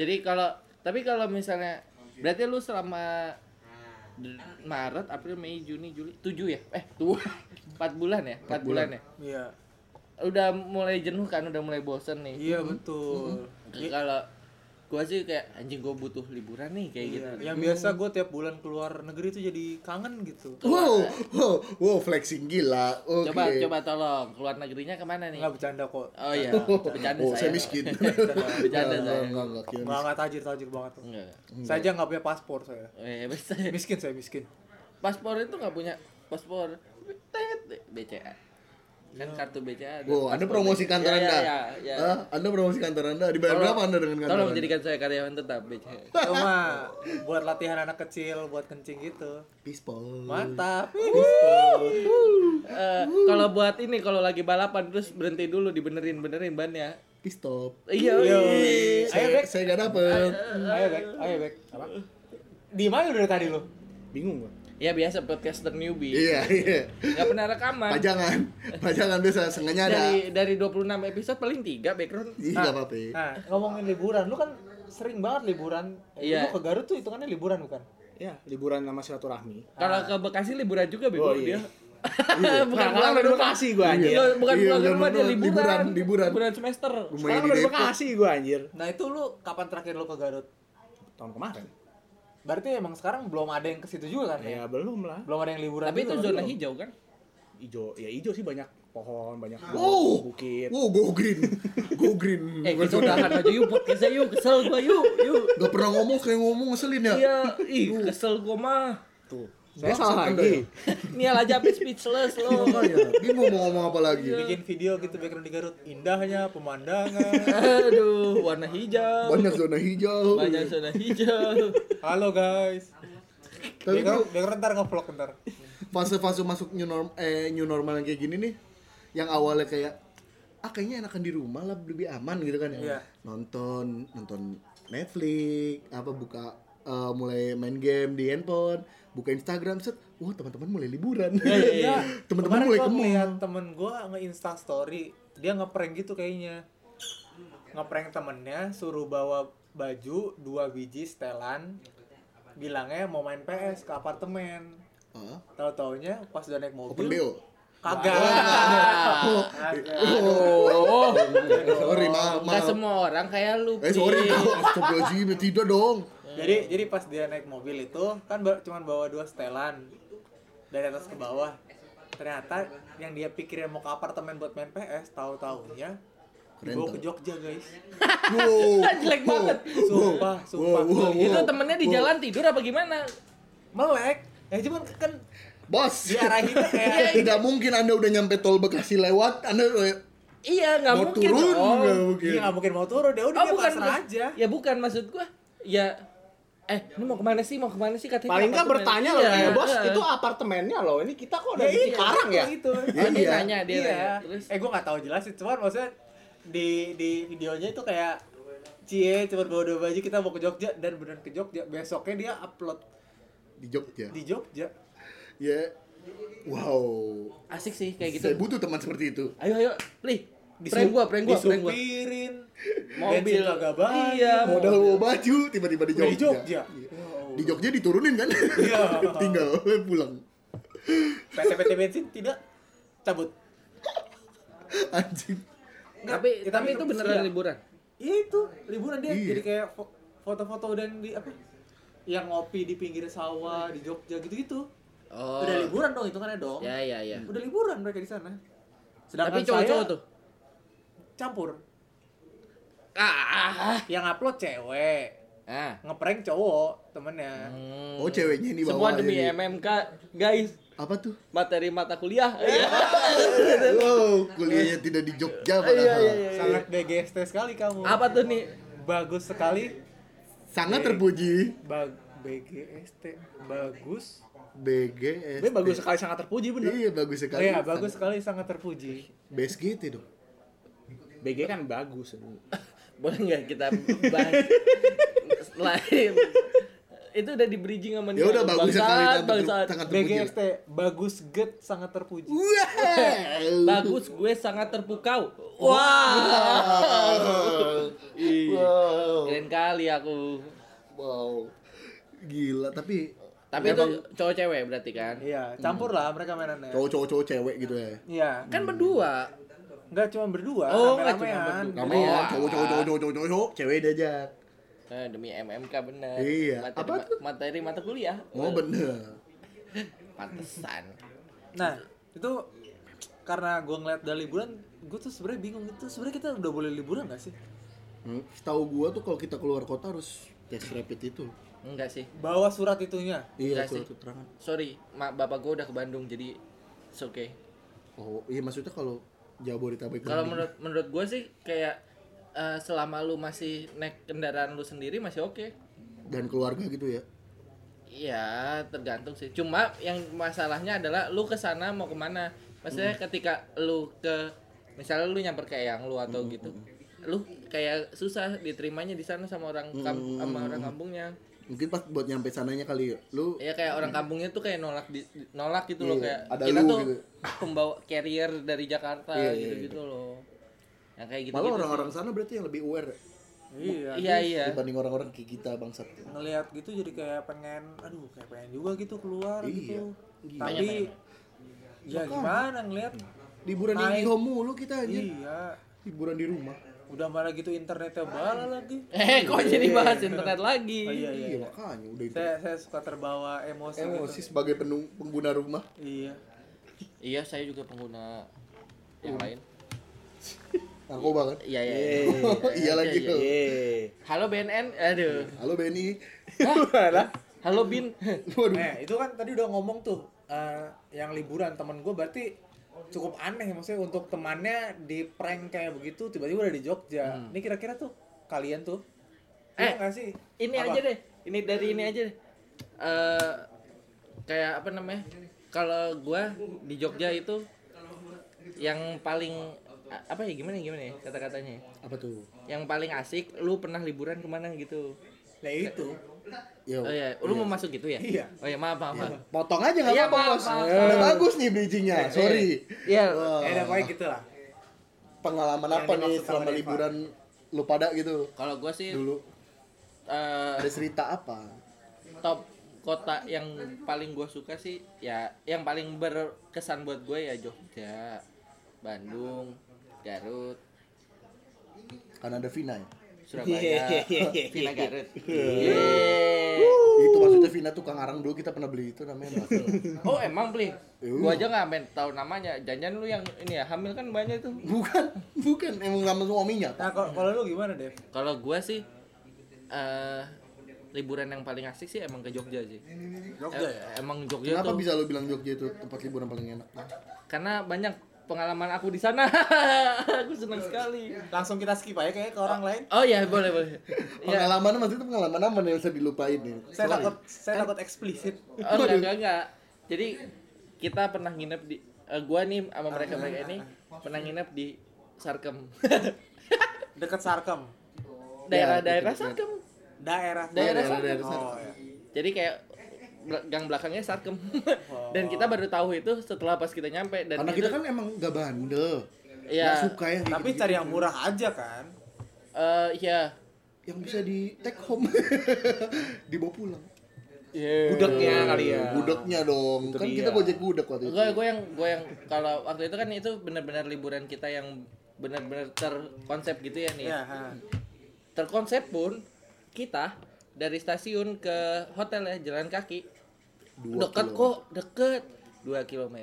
Jadi kalau tapi kalau misalnya berarti lu selama D- Maret, April, Mei, Juni, Juli, 7 ya? Eh, (laughs) tuh 4 bulan ya? 4 bulan. ya? Iya. Udah mulai jenuh kan, udah mulai bosen nih. Iya betul. Ke- Kalau gua sih kayak anjing gua butuh liburan nih Iya, kayak gitu. Yang biasa gue tiap bulan keluar negeri tuh jadi kangen gitu. Wow, wow, wow, flexing gila. Oke. Coba coba tolong keluar negerinya kemana nih? Nggak bercanda kok. Oh (laughs) iya, bercanda Oh, saya. saya (laughs) miskin. Bercanda Enggak, saya. enggak, enggak, enggak. Nggak nggak tajir tajir banget. tuh. Enggak. Saya aja nggak punya paspor saya. Eh, bisa. Miskin saya miskin. Paspor itu nggak punya paspor. Tet, BCA. Kan kartu BCA. ada. Wow, Ya. Anda Paspor promosi BCA. kantor Iya, Anda. Eh, iya, iya. Hah? Anda promosi kantor Anda. Dibayar Tolong- berapa Anda dengan kantor? Tolong Anda? jadikan saya karyawan tetap BCA. Cuma buat latihan anak kecil, buat kencing gitu. Pispol. Mantap. Eh, kalau buat ini kalau lagi balapan terus berhenti dulu dibenerin benerin bannya. Pistop. Iya. iya. Ayo Saya back. saya enggak dapet. Ayo back. Ayo back. Apa? Di mana lu dari tadi lu? Bingung gua. Ya biasa podcaster newbie. Iya, iya. Nggak pernah rekaman. Pajangan. Pajangan biasa sengaja ada. Dari Ah. dari 26 episode paling 3 background. Iya, enggak apa-apa. Nah, ngomongin liburan, lu kan sering banget liburan. Eh, Iya. Lu ke Garut tuh hitungannya liburan bukan? Ya, liburan sama silaturahmi. Kalau ke Bekasi liburan juga bego Oh, dia. iya. (laughs) bukan Nah, pulang ke kalau di rumah. Bekasi gua, anjir. Lo- bukan Iya, pulang ke bener, rumah dia bener. liburan. Liburan, liburan. semester. Rumahnya Sekarang di udah di Depok. Bekasi gua anjir. Nah, itu lu kapan terakhir lu ke Garut? Tahun kemarin. Berarti emang sekarang belum ada yang ke situ juga kan ya? Ya belum lah. Belum ada yang liburan. Tapi itu juga. zona hijau kan? Ijo, ya ijo sih banyak pohon, banyak Oh! Wow. bukit. Wow, go green. Go green. Eh, kita udahan aja yuk podcastnya yuk. Kesel gua yuk, yuk. Gak pernah ngomong kayak ngomong ngeselin ya. Iya, ih kesel gua mah. Tuh. Saya salah Anda lagi. Nial aja habis speechless lo. Makanya, bingung mau ngomong apa lagi. bikin video gitu background di Garut, indahnya (laughs) pemandangan. Aduh, warna hijau. Banyak zona hijau. Banyak zona hijau. Halo guys. Tapi Background, background ntar ngevlog ntar. fase-fase masuk new norm eh new normal yang kayak gini nih yang awalnya kayak ah kayaknya enakan di rumah lah lebih aman gitu kan ya Iya. nonton nonton Netflix apa buka eh, mulai main game di handphone buka Instagram set wah teman-teman mulai liburan (laughs) teman-teman Kemarin mulai ke gua mall. ngeliat temen gua nge-insta story, dia ngeprank gitu kayaknya. Ngeprank temennya suruh bawa baju dua biji setelan. Bilangnya mau main PS ke apartemen. Ah, Tahu taunya pas udah naik open mobil. BO Kagak. oh, Oh, sorry maaf nggak maaf semua orang kayak lu. eh sorry tahu astagfirullahaladzim ya tidak dong Jadi jadi pas dia naik mobil itu kan ba- cuman bawa dua setelan dari atas ke bawah. Ternyata yang dia pikirin mau ke apartemen buat main PS, tahu taunya dibawa Rental. ke Jogja guys. wow Jelek banget. Sumpah, sumpah. wow, wow. Itu temennya di jalan tidur apa gimana? Melek. Ya cuman kan bos diarahinnya kayak (laughs) tidak mungkin anda udah nyampe tol Bekasi lewat anda udah- Iya, nggak mau mungkin. dong. turun Iya. nggak mungkin dia nggak mungkin mau turun dia udah Oh, dia bukan pasrah mas- aja. Ya bukan maksud gua. Ya eh ini mau kemana sih? Mau kemana sih katanya? Paling ke nggak apartemen. bertanya loh, Iya, ya bos, iya. itu apartemennya loh. Ini kita Ya kok udah di iya, Cikarang ya? Gitu. Oh, dia Iya. nanya dia. iya. nanya. Terus Eh gua nggak tahu jelasin, cuman maksudnya di di videonya itu kayak Cie cuma bawa dua baju kita mau ke Jogja dan beneran ke Jogja. Besoknya dia upload di Jogja di Jogja. ya wow asik sih kayak gitu. saya butuh teman seperti itu Ayo ayo, Li. Prank gua, prank gua, prank gua. disupirin, Mobil. bensin kagak banyak. Iya, modal bawa baju tiba-tiba di Udah Jogja Iya. di Jogja. di Jogja diturunin kan Iya. (laughs) tinggal pulang PT-PT bensin tidak cabut. anjing Nggak, Tapi ya, tapi itu beneran iya. liburan. Iya itu liburan dia Iya. jadi kayak fo- foto-foto dan di apa? Yang ngopi di pinggir sawah di Jogja gitu-gitu. Oh. Udah liburan dong hitungannya dong. Ya ya ya. Udah liburan mereka di sana. Tapi Sedangkan cowok-cowok saya tuh. campur. Ah. ah, Yang upload cewek, Ah. ngeprank cowok temennya. Hmm. oh ceweknya ini Semua bawa demi ini. MMK, guys. apa tuh Materi mata kuliah. Iya. wow kuliahnya tidak di Jogja padahal iya. Sangat BGST sekali kamu. Apa tuh nih? Bagus sekali. Iya, sangat terpuji Bag BGST bagus. BGS Ini bagus sekali sangat terpuji bener. iya bagus Oh sekali iya, bagus sekali sangat terpuji. BSGT dong BG kan bagus. Boleh nggak kita bahas lain? itu udah di bridging sama ya udah bagus Bangsat, sekali sangat ter- bangsat. sangat terpuji lah. BGST bagus get sangat terpuji. Uh. Wow. Bagus gue sangat terpukau. Wah. Wow. Keren kali aku. Wow. Gila, tapi Tapi itu cowok cewek berarti kan? Iya, campur lah mereka mainannya. cowok cowok cowok cewek gitu ya Iya, Kan berdua. nggak cuma berdua, Oh, nggak cuma rame-ramean. nggak Jadi mau ya. cowok cowok cowok cowok cowok cowok cewek diajak Eh, demi MMK bener. Iya. Materi, Apa ma- tuh? materi mata kuliah. oh bener Pantesan. Nah, itu karena gue ngeliat dari liburan, gue tuh sebenarnya bingung itu sebenarnya kita udah boleh liburan gak sih? Hmm, tahu gua tuh kalau kita keluar kota harus tes rapid itu Enggak sih. Bawa surat itunya. iya Enggak surat sih. keterangan Sorry, mak bapak gue udah ke Bandung jadi it's okay. oh iya maksudnya kalau Jabodetabek Kalau Bandung. menurut menurut gue sih kayak eh, selama lu masih naik kendaraan lu sendiri masih oke. dan keluarga gitu ya Iya, tergantung sih. Cuma yang masalahnya adalah lu ke sana mau kemana. Maksudnya ketika lu ke misalnya lu nyamper ke yang lu atau gitu. Lu kayak susah diterimanya di sana sama orang kamp- sama orang kampungnya. mungkin pas buat nyampe sananya kali ya lu Ya kayak orang kampungnya tuh kayak nolak di, nolak gitu loh Iya, kayak ada kita lu tuh (laughs) gitu. pembawa carrier dari Jakarta Iya, iya, gitu-gitu loh. Yang kayak gitu. malah orang-orang sana berarti yang lebih aware Iya. Iya, iya. dibanding orang-orang kayak kita bangsat Ngeliat gitu jadi kayak pengen, aduh kayak pengen juga gitu keluar Iya. gitu. Gila. Tapi ya gimana ngeliat? liburan yang di Naik. home mulu kita aja Iya. liburan di rumah Udah malah gitu internetnya bala lagi. Eh, kok jadi bahas internet lagi? Oh, iya, iya. iya makanya udah itu Saya, saya suka terbawa emosi, emosi gitu. sebagai penung- pengguna rumah Iya. Iya, saya juga pengguna yang lain. narkoba kan Iya, iya. iya. (laughs) iya lagi iya, lo Yeay. Halo BNN, aduh. halo Benny Halo Bin. waduh Nah, itu kan tadi udah ngomong tuh eh, yang liburan temen gue berarti cukup aneh maksudnya untuk temannya di prank kayak begitu tiba-tiba udah di Jogja. Ini kira-kira tuh kalian tuh Eh, eh nggak sih? Ini Apa? aja deh. Ini dari ini aja deh. Eh, kayak apa namanya? Kalau gua di Jogja itu yang paling a- apa ya gimana ya, gimana ya kata-katanya ya? apa tuh yang paling asik lu pernah liburan kemana gitu Nah itu Yo. oh iya lu mau masuk gitu ya Iya. oh iya maaf maaf maaf. potong aja nggak Iya, apa-apa maaf, bos maaf. udah bagus nih bridgingnya sorry Oh. iya Wah, eh, udah pokoknya gitu lah. pengalaman Yang apa nih dimaksud sama selama Deva. liburan lu pada gitu kalau gua sih dulu eh, ada cerita apa top kota yang paling gue suka sih ya yang paling berkesan buat gue ya Jogja, Bandung, Garut, karena ada Vina ya iya, Surabaya, Vina Garut. Yeay. itu maksudnya Vina tukang arang dulu kita pernah beli itu namanya (laughs) Mbak. Oh emang beli? Iya. Gue aja nggak main tahu namanya. Jangan lu yang ini ya hamil kan banyak tuh. bukan bukan emang sama suaminya Nah kalau kalau lu gimana deh? Kalau gue sih eh liburan yang paling asik sih emang ke Jogja sih. Jogja Em- Emang Jogja Iya, kenapa tuh bisa lu bilang Jogja itu tempat liburan paling enak karena banyak pengalaman aku di sana. (laughs) aku senang sekali. Langsung kita skip aja kayaknya ke orang lain. Oh iya boleh (laughs) boleh. Ya, pengalaman maksudnya pengalaman apa yang bisa dilupain nih Saya Sorry. takut saya takut eksplisit. Oh, enggak, enggak, enggak. Jadi kita pernah nginep di eh, gua nih sama Ah, mereka mereka ini pernah nginep di (laughs) Sarkem. (laughs) Deket Sarkem. Iya, Daerah-daerah Sarkem. Daerah Daerah Daerah- daerah Sarkem. Oh, iya. Jadi kayak bel- gang belakangnya Sarkem. (laughs) Dan kita baru tahu itu setelah pas kita nyampe dan Oh. karena itu, kita kan emang gak bandel Iya. Nggak suka ya kayak Tapi gitu-gitu. cari yang murah aja kan. eh, iya. yang bisa di take home dibawa pulang Eh. Budaknya Iya, kali ya. gudegnya dong Itu kan dia. kita gojek gudeg waktu itu Gue gue yang gue yang kalau waktu itu kan itu benar-benar liburan kita yang benar-benar terkonsep gitu ya nih. Iya, ha. Terkonsep pun kita dari stasiun ke hotel ya jalan kaki. Dua deket kilo. kok, deket 2 km.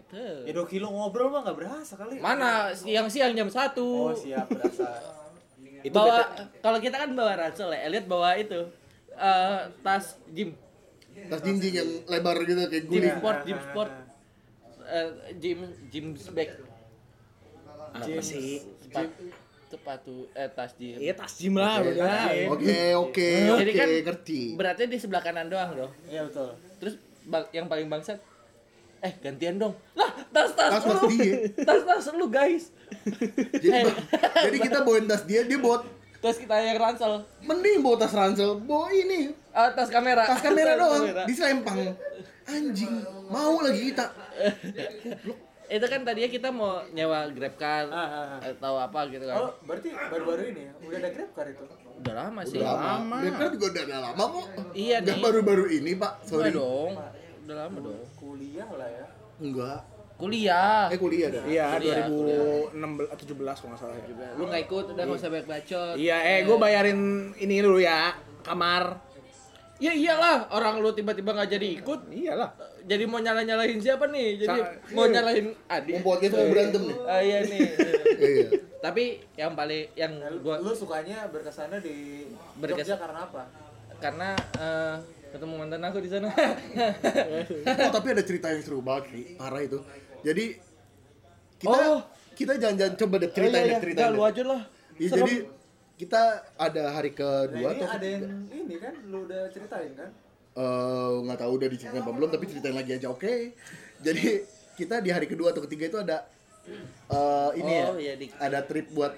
Ya 2 kilo ngobrol mah nggak berasa kali. Mana siang-siang jam 1. Oh siap (laughs) berasa. Itu bawa bete- kalau kita kan bawa ransel ya, Elliot bawa itu eh, tas gym, tas jinjing yang lebar gitu kayak gym guling sport, gym sport. Eh, gym gym bag. apa sih? Sepatu, sepatu eh tas gym. Iya tas gym lah Oke, udah. Iya. oke oke Jadi oke kan ngerti Beratnya di sebelah kanan doang loh. Iya betul. Terus ba- yang paling bangsat eh gantian dong. Lah, tas-tas tas tas lu. dia Tas-tas lu guys. jadi ba- jadi kita bawain tas dia dia bawa Terus kita yang ransel. mending bawa tas ransel bawa ini Eh, tas kamera. tas kamera doang kamera. diselempang anjing mau lagi kita itu kan tadinya kita mau nyewa grab car Ah, ah, ah. atau apa gitu kan Oh, berarti baru-baru ini ya? Udah ada Grab Car itu? udah lama sih lama dia kan juga udah, udah lama kok Iya, Nggak nih. baru-baru ini pak Enggak sorry dong udah lama dong. kuliah lah ya Enggak. Kuliah. Eh kuliah dah. Iya, Kuliah, 2016 17 kalau nggak salah ya. Juga. Lu nggak ikut, udah nggak usah banyak bacot. Iya, eh gue bayarin ini dulu ya, kamar. Ya iyalah, orang lu tiba-tiba nggak jadi ikut. Iyalah. Jadi mau nyala-nyalahin siapa nih? Jadi Sa- mau nyalahin Adi. Mau podcast mau berantem (laughs) nih. Ah, iya nih. Iya, Iya. Tapi yang paling yang Nah, lu, gua lu sukanya berkesannya di Berkes- Jogja karena apa karena eh, ketemu mantan aku di sana. Oh tapi ada cerita yang seru banget sih. Parah itu. Jadi kita Oh. kita jangan-jangan coba deh ceritain deh ceritain. Nggak, deh. lu aja lah. Iya, Serem. jadi kita ada hari nah kedua ini atau ada yang ketiga. ini kan lu udah ceritain kan Eh, nggak tahu udah diceritain apa belum tapi ceritain lagi aja oke jadi kita di hari kedua atau ketiga itu ada eh, ini Oh, ya iya, di- ada trip buat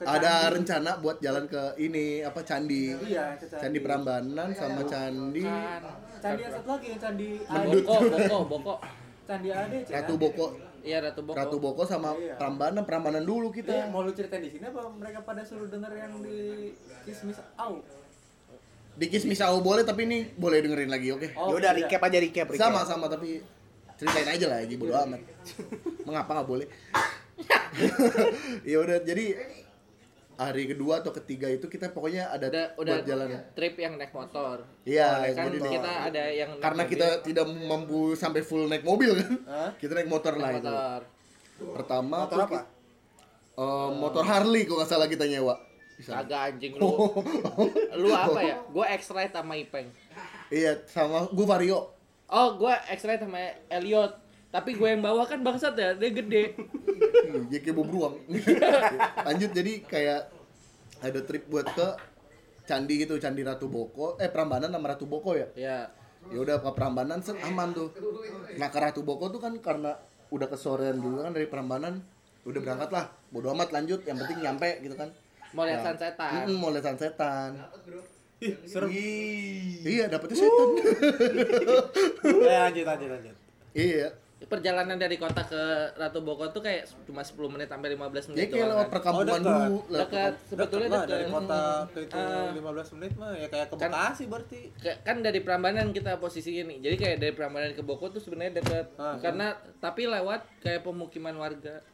Ke ada Candi. rencana buat jalan ke ini apa candi iya ke candi Prambanan sama candi Kan. candi yang satu lagi yang candi Ade Mendut. Boko, boko, boko. candi Ade Cen. Ratu Boko Iya Ratu Boko. Ratu Boko sama Iya. Prambanan Prambanan dulu Iya, kita mau lu ceritain di sini apa mereka pada suruh denger yang di Kismis Au? di Kismis Au boleh tapi ini boleh dengerin lagi oke Ya udah recap aja recap, Oh, recap. iya. sama sama tapi ceritain aja lah Ji bodo amat mengapa nggak (laughs) boleh ya udah jadi hari kedua atau ketiga itu kita pokoknya ada udah udah buat jalan trip yang naik motor. Iya, Soalnya kan jadi naik kita motor. ada yang naik karena mobil, ya? kita tidak mampu sampai full naik mobil kan Hah? kita naik motor naik lah itu motor. pertama Motor tuh apa? ki- eh, motor Harley kok nggak salah kita nyewa Kagak anjing lu. Oh. Oh. lu apa ya? Gue X-Ride sama Ipeng. (laughs) iya sama gue Vario Oh, gue X-Ride sama Elliot. Tapi gue yang bawa kan bangsat ya, dia gede. Hmm, JK Bob Ruang. Lanjut jadi kayak ada trip buat ke candi gitu, candi Ratu Boko, eh Prambanan sama Ratu Boko ya. ya, Ya udah ke Prambanan set aman tuh. Nah ke Ratu Boko tuh kan karena udah kesorean dulu kan dari Prambanan udah berangkat lah. Bodo amat lanjut, yang penting nyampe gitu kan. mau lihat Nah, sunsetan. mm, mau lihat sunsetan. Ih, serem. Iya, dapetnya setan. Eh, lanjut lanjut lanjut. iya. Perjalanan dari kota ke Ratu Boko tuh kayak cuma 10 menit sampai 15 Jadi menit Iya, kayak lewat kan. perkampungan Oh, dekat. dulu. lewat Dekat, sebetulnya Deket lah, dekat. dari kota ke itu Ah. 15 menit mah ya kayak ke Kan- Bekasi berarti. Ke- kan dari Prambanan kita posisi ini jadi kayak dari Prambanan ke Bogor tuh sebenarnya deket iya. Ah, karena tapi lewat kayak pemukiman warga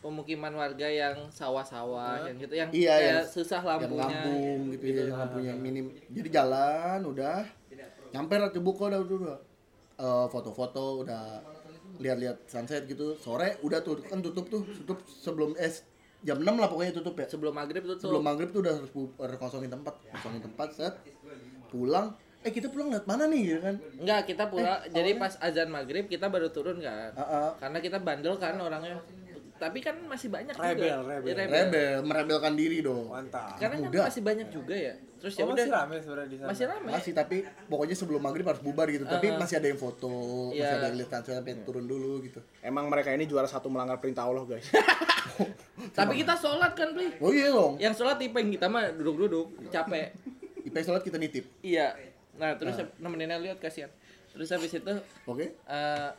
pemukiman warga yang sawah-sawah yang gitu yang Iya, kayak yang- susah yang lampunya lambung gitu ya, yang lampunya yang minim. Jadi jalan udah nyampe Ratu Buko udah udah udah. Eh, foto-foto udah lihat-lihat sunset gitu. Sore udah tuh kan tutup tuh, tutup sebelum es jam 6 lah pokoknya tutup ya. sebelum maghrib tuh Sebelum maghrib tuh udah harus bu- harus kosongin tempat, kosongin tempat set. Pulang, eh kita pulang lihat mana nih gitu kan. enggak kita pulang Eh, jadi pas azan maghrib kita baru turun kan Heeh. karena kita bandel kan orangnya tapi kan masih banyak Rebel, juga rebel. Ya, Rebel, merebelkan diri dong. Mantap. karena kan Udah. masih banyak juga ya terus ya udah Oh, masih rame sebenarnya di sana. masih ramai Masih tapi pokoknya sebelum maghrib harus bubar gitu. Tapi masih ada yang foto, masih Iya. ada yang lihat sunset sampai turun dulu gitu. Emang mereka ini juara satu melanggar perintah Allah, guys. tapi kita sholat kan Pli Oh iya dong. yang sholat tipeng kita mah duduk-duduk capek IP sholat kita nitip. Iya. Nah, terus nemenin Elliot kasihan. Terus habis itu Oke? eh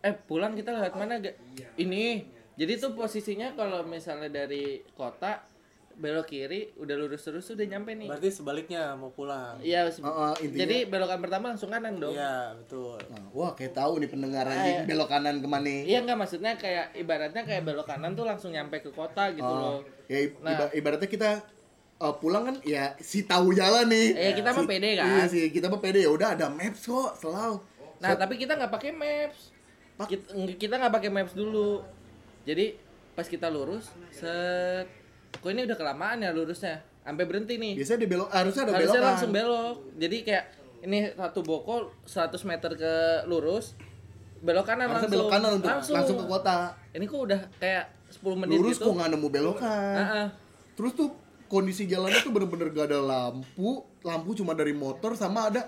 eh pulang kita lewat mana gak? Iya. Ini. Jadi tuh posisinya kalau misalnya dari kota belok kiri udah lurus terus udah nyampe nih. Berarti sebaliknya mau pulang. Iya. se- Ah, ah, intinya- jadi belokan pertama langsung kanan dong. Iya. Oh, Iya, betul. Nah, wah kayak tahu nih pendengar Ah, anjing belok kanan kemana. Iya, nggak maksudnya kayak ibaratnya kayak belok kanan tuh langsung nyampe ke kota gitu loh. Oh, ya i- Nah. iba- ibaratnya kita eh, pulang kan ya si tahu jalan Eh, nih. kita mah Si- pede kan? Iya sih, kita mah pede ya udah ada maps kok, selalu. Nah, tapi kita nggak pakai maps. Pak- Kita, ng- kita nggak pakai maps dulu. Jadi pas kita lurus, set, kok ini udah kelamaan ya lurusnya, sampai berhenti nih. Biasanya di Iya, belok kan? harusnya ada Harusnya belokan. langsung belok. Jadi kayak ini satu boko 100 meter ke lurus, belok kanan Harusnya langsung. belok kanan untuk langsung. ke kota. Ini kok udah kayak 10 menit Lurus gitu. kok nggak nemu belokan. Ah, ah. Terus tuh kondisi jalannya tuh bener-bener gak ada lampu, lampu cuma dari motor sama ada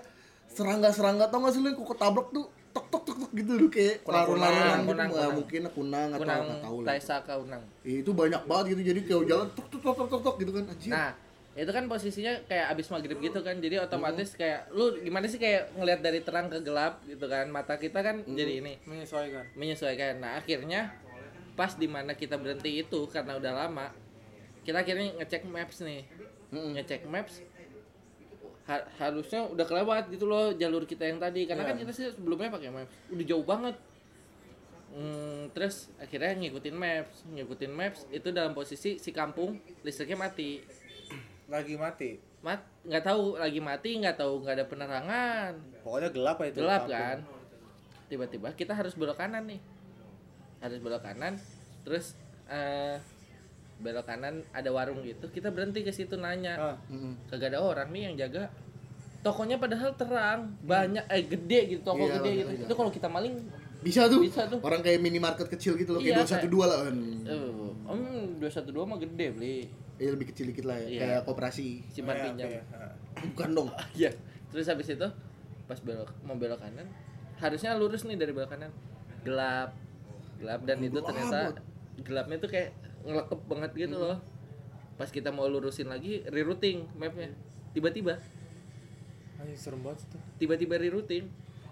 serangga-serangga tau gak sih lu yang kok ketabrak tuh tok tok tok tok gitu lu kayak Kunang-kunang, larun-larunan gitu kunang, nggak kunang. mungkin kunang atau Kunang nggak tahu lah Nah, Taisa Kaunang. itu banyak banget gitu jadi kayak jalan tok tok tok tok tok, tok gitu kan anjir Nah, itu kan posisinya kayak abis maghrib gitu kan, jadi otomatis kayak lu gimana sih kayak ngelihat dari terang ke gelap gitu kan, mata kita kan jadi ini Menyesuaikan. menyesuaikan. Nah akhirnya pas di mana kita berhenti itu karena udah lama, kita akhirnya ngecek maps nih, ngecek maps. ha- harusnya udah kelewat gitu loh jalur kita yang tadi karena kan kita sih sebelumnya pakai maps udah jauh banget Hmm, terus akhirnya ngikutin maps ngikutin maps itu dalam posisi si kampung listriknya mati lagi mati mat nggak tahu lagi mati nggak tahu nggak ada penerangan pokoknya gelap ya itu gelap kampung. kan tiba-tiba kita harus belok kanan nih harus belok kanan terus eh, belok kanan ada warung gitu kita berhenti ke situ nanya Ah, kagak ada orang nih yang jaga tokonya padahal terang banyak eh gede gitu toko Iya, gede makanya. gitu itu kalau kita maling Bisa tuh. Bisa tuh. Orang kayak minimarket kecil gitu loh, Iya, kayak 212 lah. Hmm. eh, om dua satu dua mah gede beli Ya lebih kecil dikit lah ya, Iya. Nah. kayak koperasi. simpan iya, pinjam iya, ah. Bukan dong. Iya. Terus habis itu pas belok mau belok kanan, harusnya lurus nih dari belok kanan. Gelap. Gelap dan itu Gelap ternyata banget. gelapnya tuh kayak ngelekep banget gitu loh. Pas kita mau lurusin lagi rerouting mapnya. Tiba-tiba, Anjing, serem banget tuh tiba-tiba rerouting.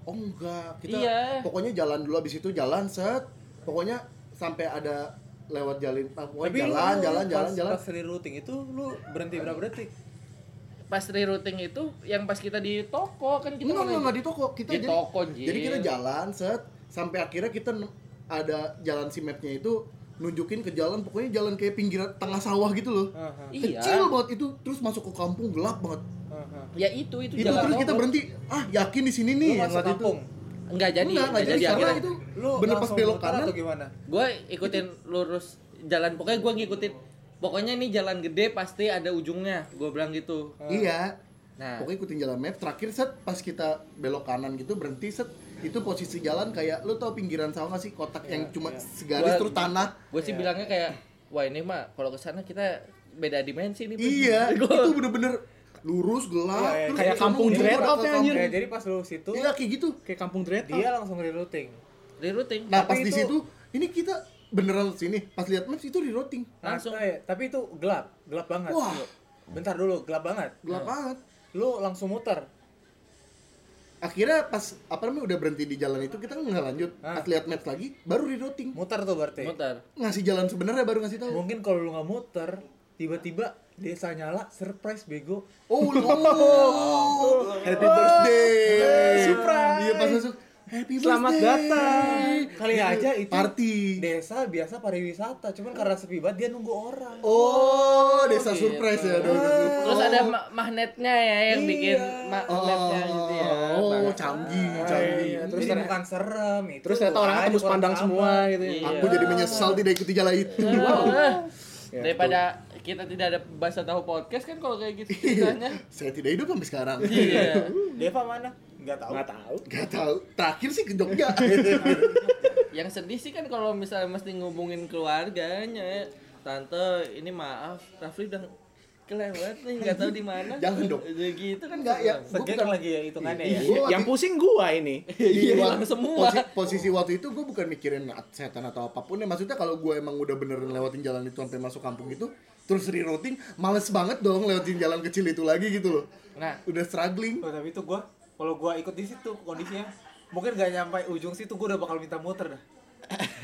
Oh enggak, kita Iya. pokoknya jalan dulu abis itu jalan set. Pokoknya sampai ada lewat jalin ah, pokoknya jalan, lu jalan, pas- jalan, jalan. pas gitu rerouting itu lu berhenti berapa detik Pas rerouting itu yang pas kita di toko kan kita Enggak, mulai- enggak, enggak di toko. Kita Di jadi toko, Jil. Jadi kita jalan set sampai akhirnya kita ne- ada jalan si mapnya itu nunjukin ke jalan pokoknya jalan kayak pinggiran tengah sawah gitu loh. Ah, ah, Iya. Kecil banget itu terus masuk ke kampung gelap banget. ah, ah. Ya itu itu, Itu, terus kita berhenti. Ah, yakin di sini lu nih yang masuk waktu itu. kampung Enggak jadi, Enggak, enggak jadi karena akhirnya. itu lu bener pas langsung belok muter kanan. atau gimana gue ikutin lurus jalan pokoknya gue ngikutin pokoknya ini jalan gede pasti ada ujungnya gue bilang gitu Iya. nah Pokoknya ikutin jalan map, terakhir set pas kita belok kanan gitu berhenti set itu posisi jalan kayak lu tau pinggiran sawah gak sih kotak yang cuma segaris Gua- terus tanah. gue Iya. sih bilangnya kayak wah ini mah kalau kesana kita beda dimensi nih Iya, (laughs) Gua- itu bener-bener lurus gelap Iya, iya, terus kayak kesana kampung ujung dread ada out ya, Ah, kampung. anjir. ya jadi pas lu situ Iya kayak gitu. kayak kampung dread dia langsung rerouting rerouting Nah, Tapi pas di itu- situ ini kita beneran sini pas lihat maps itu rerouting. Langsung. Nah, eh, tapi itu gelap gelap banget Wah. bentar dulu gelap banget Gelap banget. lu langsung muter Akhirnya pas apa namanya udah berhenti di jalan itu kita nggak lanjut. Hah. Pas lihat maps lagi baru rerouting. muter tuh berarti muter Ngasih jalan sebenarnya baru ngasih tahu. mungkin kalau lu nggak muter tiba-tiba desa nyala surprise bego (laughs) Oh, no. Happy birthday. Surprise. Iya pas masuk. Happy Selamat birthday. datang. kali Gitu. aja itu party. desa biasa pariwisata cuman karena sepi banget dia nunggu orang Oh, desa gitu. surprise ya. desa surprise. terus ada ma- magnetnya ya yang bikin Iya. magnetnya gitu ya Oh, Bang. canggih, Ah, canggih. iya, terus Jadi- bukan serem itu terus ternyata orangnya aja tembus kurang pandang sama. semua gitu ya. Iya. Aku jadi menyesal tidak ikuti jalan itu. Ah. Ya, daripada kita tidak ada bahasa tahu podcast kan kalau kayak Iya. gitu ceritanya (laughs) Saya tidak hidup sampai sekarang. iya Deva mana nggak tahu nggak tahu Gak tahu. Terakhir sih ke Jogja. yang sedih sih kan kalau misalnya mesti ngubungin keluarganya tante ini maaf Rafli udah kelewat nih nggak tahu di mana (laughs) Jangan dong. Udah gitu kan Enggak ya. gua segek bukan- lagi ya hitungannya ya Iya. yang pusing gua ini Iya, Iya, hilang semua. Posi- posisi waktu itu gue bukan mikirin setan atau apapun ya. Maksudnya kalau gue emang udah beneran lewatin jalan itu sampai masuk kampung itu, terus rerouting, males banget dong lewatin jalan kecil itu lagi gitu loh. nah Udah struggling. Oh, tapi itu gua kalau gua ikut di situ kondisinya mungkin gak nyampe ujung situ gua udah bakal minta muter dah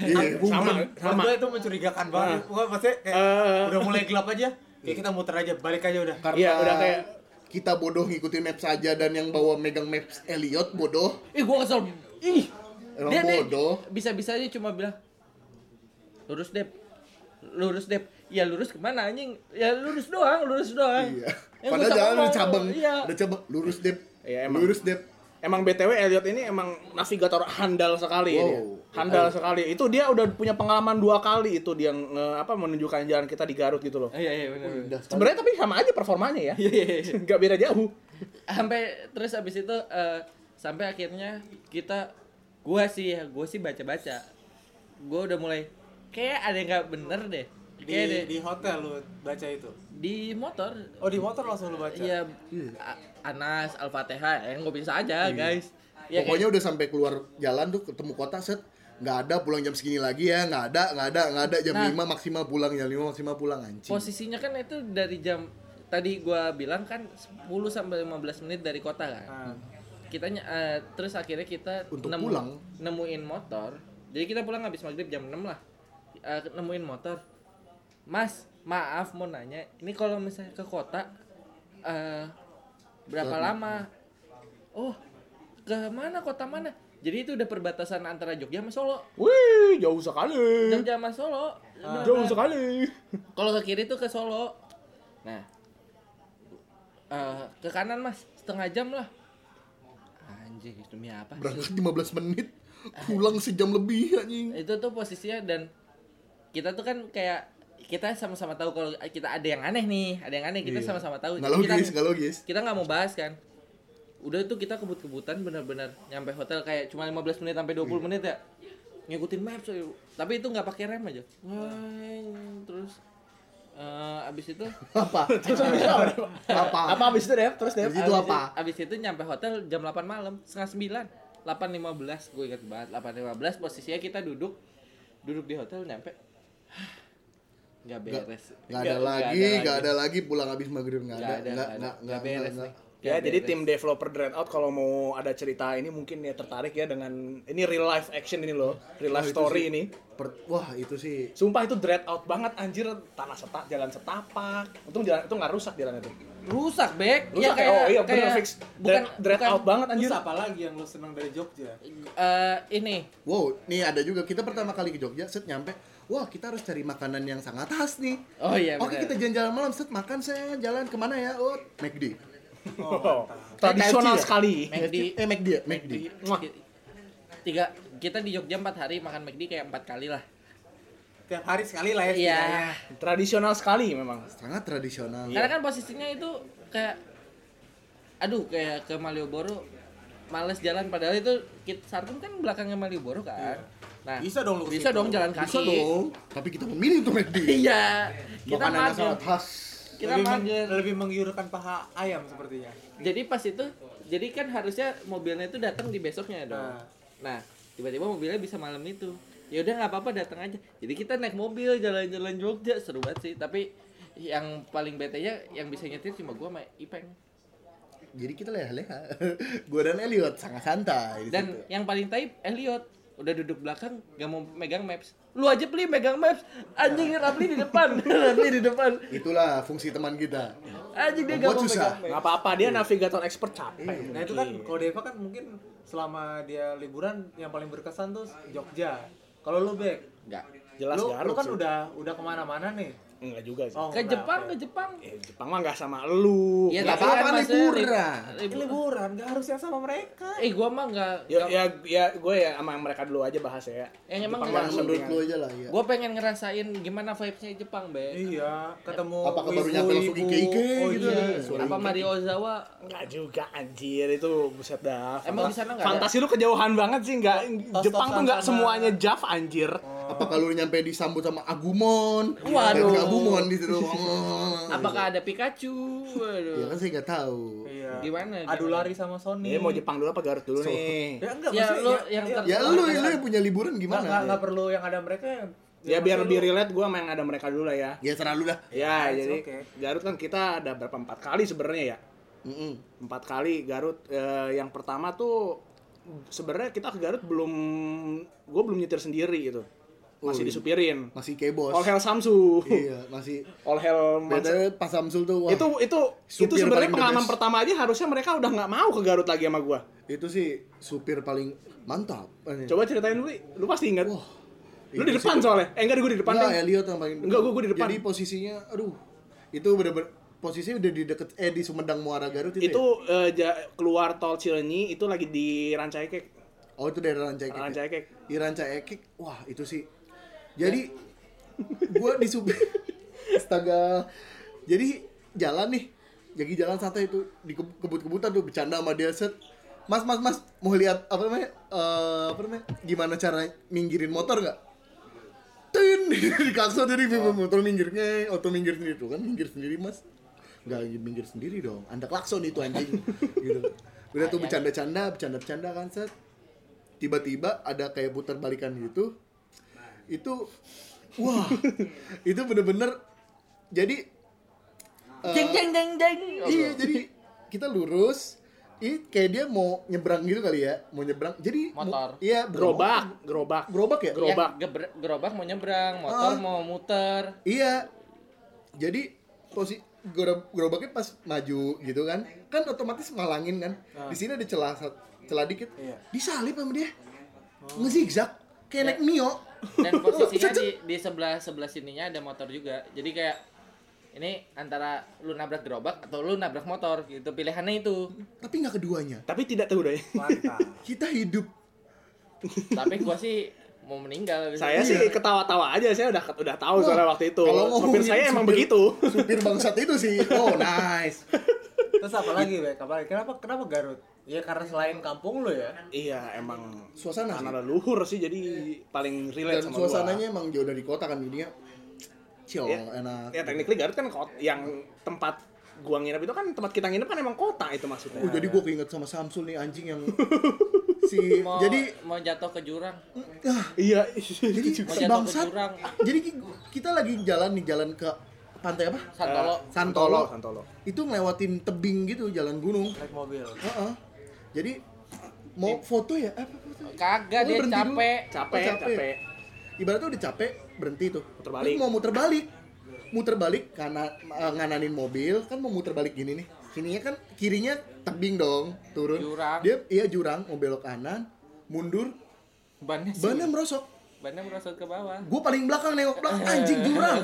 Iya, sama Buat sama Nah. gua itu mencurigakan banget gua pasti kayak Eh. udah mulai gelap aja kayak kita muter aja balik aja udah Karena Iya, udah kayak- kita bodoh ngikutin maps aja dan yang bawa megang maps Elliot bodoh. ih gua kesel ih Emang bodoh. bisa bisanya cuma bilang lurus dep lurus dep ya lurus kemana anjing ya lurus doang lurus doang Iya. Ya, Padahal gua jalan sama ada cabang, iya ada cabang. Lurus dep, Iya, emang. lurus dep. Emang BTW Elliot ini emang navigator handal sekali ya Wow. dia. Handal sekali. Itu dia udah punya pengalaman dua kali itu dia nge- apa menunjukkan jalan kita di Garut gitu loh. Ah, iya iya benar benar. Udah, Sebenarnya tapi sama aja performanya ya. Iya, iya, (laughs) iya. Gak beda jauh. sampai terus abis itu eh, sampai akhirnya kita gua sih ya gua sih baca baca gua udah mulai kayak ada yang nggak bener deh di kayak Iya, deh di hotel lu baca itu di motor oh di motor langsung lu baca iya A- Anas Al-Fatihah yang gua bisa aja guys ya, kayak- Iya. Pokoknya udah sampai keluar jalan tuh ketemu kota set nggak ada pulang jam segini lagi ya nggak ada nggak ada nggak ada jam Nah. 5 maksimal pulang jam 5 maksimal pulang anjing posisinya kan itu dari jam tadi gua bilang kan 10 sampai 15 menit dari kota kan Ah. kita ny- eh, terus akhirnya kita Untuk pulang. nemuin motor jadi kita pulang habis maghrib jam 6 lah Eh, nemuin motor mas maaf mau nanya ini kalau misalnya ke kota eh berapa lama oh ke mana kota mana jadi itu udah perbatasan antara Jogja sama Solo Wih, jauh sekali. Jogja sama Solo Nah, Jauh sekali. kalau ke kiri tuh ke Solo nah eh, ke kanan mas setengah jam lah anjing demi apa sih? Berangkat 15 menit, pulang sejam lebih anjing. itu tuh posisinya dan kita tuh kan kayak kita sama-sama tahu kalau kita ada yang aneh nih ada yang aneh kita Iya. sama-sama tahu Nggak kita logis, nggak (laughs) logis. kita nggak mau bahas kan udah tuh kita kebut-kebutan bener-bener nyampe hotel kayak cuma 15 menit sampai 20 Iya. menit ya ngikutin maps aja. tapi itu nggak pakai rem aja Iya. Weng, terus eh, abis itu Apa? apa? Apa abis itu, Dev? Terus, Dev? Abis itu abis apa? abis itu nyampe hotel jam 8 malam, setengah 9. 8.15 gue ingat banget. 8.15 posisinya kita duduk duduk di hotel nyampe (sighs) "Hah, nggak beres. Gak ada lagi, gak ada lagi pulang habis maghrib nggak ada, Nggak ada, nggak nggak ada. nggak Nggak nggak beres nggak. nih. Ya, Nggak jadi beres. tim developer Dreadout kalau mau ada cerita ini mungkin ya tertarik ya dengan ini real life action ini loh, real Wah, life itu story sih. ini. Per- Wah itu sih Sumpah itu Dreadout banget anjir, tanah seta, jalan setapak. Untung jalan itu nggak rusak jalan itu. rusak, Bek. Rusak ya, oh iya bener fix. bukan Dread- Dreadout banget anjir. Terus apa lagi yang lu senang dari Jogja? eh, ini Wow, nih ada juga kita pertama kali ke Jogja, set nyampe. Wah, kita harus cari makanan yang sangat khas nih. Oh iya, Oke, benar. kita jalan-jalan malam, set makan saya jalan kemana ya? Oh, McD. (laughs) Oh, tradisional KFC ya? sekali. McD. Eh, McD ya? McD. Wah. Tiga, kita di Jogja 4 hari makan McD kayak empat kali lah. Tiap hari sekali lah ya Iya. setidaknya. Tradisional sekali memang. Sangat tradisional. Iya. Karena kan posisinya itu kayak aduh kayak ke Malioboro males jalan padahal itu kit Sartum kan belakangnya Malioboro kan. Nah, Iya. Bisa dong lu ke bisa situ. dong jalan kaki. Bisa dong, tapi kita memilih untuk McD. (laughs) Iya. Kita makanan yang mager. sangat khas. Kita lebih, meng- mager. lebih menggiurkan paha ayam sepertinya. Jadi pas itu jadi kan harusnya mobilnya itu datang di besoknya dong. Nah, Nah. tiba-tiba mobilnya bisa malam itu. Ya udah nggak apa-apa datang aja. Jadi kita naik mobil jalan-jalan Jogja seru banget sih, tapi yang paling betenya yang bisa nyetir cuma gua sama Ipeng. Jadi kita leha-leha. (laughs) Gua dan Elliot sangat santai. di Dan situ. yang paling taib Elliot udah duduk belakang gak mau megang maps. Lu aja beli megang maps. Anjing Nah. Rapli di (laughs) depan. Rapli di depan. itulah fungsi teman kita. Anjing dia gak Membuat mau susah. megang Nggak maps. apa-apa, dia navigator expert capek. Nah itu kan kalau Deva kan mungkin selama dia liburan yang paling berkesan tuh Jogja. Kalau lu Bek, Enggak. Jelas lu, lu Garut kan sih. udah udah kemana-mana nih. Enggak juga sih. Ke kenapa Jepang, ya? ke Jepang. Eh, Jepang mah nggak sama lu. Iya, nggak tapi kan apa-apa, maksudnya li- liburan. Ini liburan. liburan, gak harus yang sama mereka. Eh gua mah enggak. Ya, ya, ya gue ya sama yang mereka dulu aja bahas Yang emang ya. Jepang nggak- mah Yang menurut mendingan. lu aja lah ya. Gua pengen ngerasain gimana vibes-nya Jepang, Be. Iya, ketemu Apa baru wibu- nyampe langsung wibu. IG Oh, gitu. iya. Suara Apa Ike. Mario Ozawa Enggak juga anjir itu buset dah. Emang Fanta- di sana nggak ada? Fantasi lu kejauhan banget sih enggak Tos-tosan Jepang tuh enggak sama- semuanya Jav anjir. Hmm. Apa kalau lu nyampe disambut sama Agumon? Waduh. Dari Agumon di situ. Apakah ada Pikachu? Ya Waduh. kan saya nggak tahu. Iya. Gimana? Iya. Adu lari sama Sony. Ini Eh, mau Jepang dulu apa Garut dulu nih? Ya enggak Ya, maksudnya lu yang ter- Ya lu, lu yang punya liburan Nggak- nggak- gimana? nggak perlu yang ada mereka yang Ya yang biar maksudnya lebih lu- relate gua sama yang ada mereka dulu lah ya. Ya serah lu dah. Ya, it's jadi okay. Garut kan kita ada berapa empat kali sebenarnya ya. Mm-mm. Empat kali Garut eh, yang pertama tuh sebenarnya kita ke Garut belum gua belum nyetir sendiri gitu. Masih Oh, iya. disupirin. Masih kayak bos. All Hail Samsu. Iya, masih. All Hail Mansa- Bedanya Pak Samsul tuh wah. itu itu itu supir paling sebenarnya the pengalaman best. pertama aja harusnya mereka udah nggak mau ke Garut lagi sama gua. itu sih supir paling mantap. Coba ceritain dulu, Li. lu pasti ingat. Iya. Wah. iya, lu di depan soalnya. Eh enggak, gue di depan. Enggak, Deng. Elliot yang paling Enggak, gua- gua di depan. Jadi posisinya aduh. Itu bener-bener posisinya udah di deket eh di Sumedang Muara Garut itu. itu ya? eh, ja- keluar tol Cilenyi itu lagi di Rancaikek. Oh, itu dari Rancaikek. ya? Rancaikek. Di Rancaikek. Wah, itu sih. Jadi gua di supir (laughs) astaga. Jadi jalan nih. Jadi jalan santai itu di ke- kebut-kebutan tuh bercanda sama dia set. Mas, mas, mas, mau lihat apa namanya? eh, apa namanya? Gimana cara minggirin motor nggak? tin (laughs) di kasur jadi motor minggirnya auto minggir sendiri tuh kan minggir sendiri mas nggak minggir sendiri dong anda klakson itu anjing gitu udah tuh bercanda-canda bercanda-bercanda kan set tiba-tiba ada kayak putar balikan gitu itu wah itu bener-bener jadi eh, Jeng jeng jeng jeng. Iya, jadi kita lurus. Ini kayak dia mau nyebrang gitu kali ya, mau nyebrang. Jadi mu- Motor. Iya, Gerobak, gerobak. Gerobak ya? Gerobak. Yang geber- gerobak mau nyebrang, motor Ah. mau muter. Iya. Jadi posisi gerobak gerobaknya pas maju gitu kan kan otomatis malangin kan di sini ada celah sat- celah dikit Iya. disalip sama dia ngezigzag kayak naik mio dan (laughs) posisinya di, di sebelah sebelah sininya ada motor juga jadi kayak ini antara lu nabrak gerobak atau lu nabrak motor gitu pilihannya (laughs) itu tapi nggak keduanya Tapi tidak tahu deh. mantap kita hidup tapi gua sih mau meninggal abis Saya itu. sih ketawa-tawa aja, saya udah udah Iya. Wah, tahu Oh, soalnya waktu itu. kalau Supir ngomongin saya emang supir- (laughs) begitu. supir bangsat itu sih oh nice terus apa lagi Bek? Apa lagi? kenapa kenapa Garut ya karena selain kampung lu ya Iya, emang Suasana sih. anak leluhur sih jadi paling relate dan sama suasananya emang jauh dari kota kan jadinya chill Ya. enak gua. Ya technically Garut kan kot yang tempat gua nginep itu kan tempat kita nginep kan emang kota itu maksudnya. Oh, jadi gue keinget sama Samsul nih anjing (laughs) yang si mau, jadi mau jatuh ke jurang ah, Iya. jadi (laughs) Mau si jatuh ke bangsat jurang. ya. jadi ki- kita lagi jalan nih jalan ke pantai apa santolo Santolo, Santolo. itu ngelewatin tebing gitu jalan gunung naik mobil Heeh. jadi Iya. mau foto ya apa foto kagak Lu Iya, dia berhenti dulu. capek Capek, Oh, capek. capek. ibaratnya udah capek berhenti tuh Muter balik. Terus mau muter balik muter balik karena eh, ngananin mobil kan mau muter balik gini nih kininya kan kirinya tebing dong turun Jurang. dia iya jurang mau belok kanan mundur bannya sih bannya merosot bannya merosot ke bawah gue paling belakang nengok belakang anjing jurang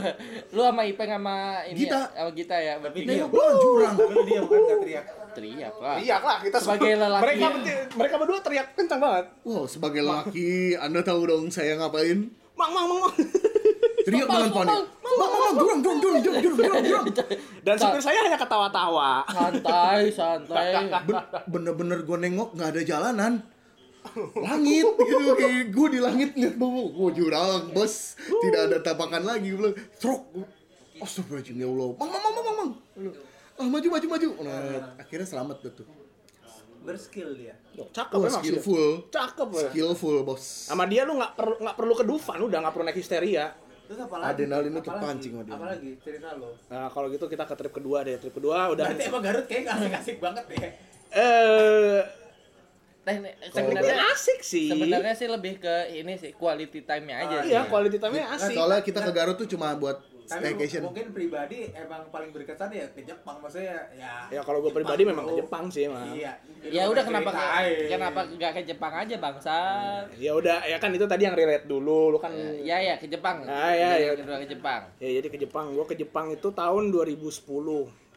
lu sama Ipeng sama ini Gita. ya, sama Gita ya Tapi bertiga nengok belakang jurang tapi lu diam kan gak teriak teriak lah Iya Teriak lah kita Sebagai semua. lelaki. Mereka mereka berdua teriak kencang banget. wow sebagai laki anda tahu dong saya ngapain Mang mang mang. (laughs) mang. teriak dengan panik bang bang bang jurang jurang jurang jurang jurang jurang jurang Dan Nah. supir saya hanya ketawa-tawa. santai santai Ben- bener-bener gue nengok nggak ada jalanan langit gitu kayak gue di langit lihat bawah gue jurang bos tidak ada tapakan lagi gue bilang truk astagfirullahaladzim ya Allah mang mang mang mang, mang mang ah maju maju maju nah, akhirnya selamat deh tuh berskill dia Cakep Wah, emang sih. skillful Cakep. ya. skillful bos Sama dia lu nggak perlu nggak perlu ke Dufan, udah nggak perlu naik histeria. terus apa lagi Adrenalin lu Apa lagi? terpancing sama dia. apa lagi cerita lo Nah, kalau gitu kita ke trip kedua deh. Trip kedua udah berarti emang Garut kayak gak asik-asik banget deh eh Teh, sebenarnya sebenarnya asik sih. sebenarnya sih lebih ke ini sih quality time-nya aja iya, quality time-nya Nah, asik. soalnya kita ke Garut tuh cuma buat tapi staycation mungkin pribadi emang paling berkesan ya ke Jepang maksudnya ya Ya kalau gue pribadi memang ke Jepang sih emang. iya ya udah kenapa kenapa nggak ke Jepang aja bangsa Ya udah, ya kan itu tadi yang relate dulu. Lu kan ya ya ke Jepang Ah, ya, ya. Kedua ke Jepang ya jadi ke Jepang. Gue ke Jepang itu tahun 2010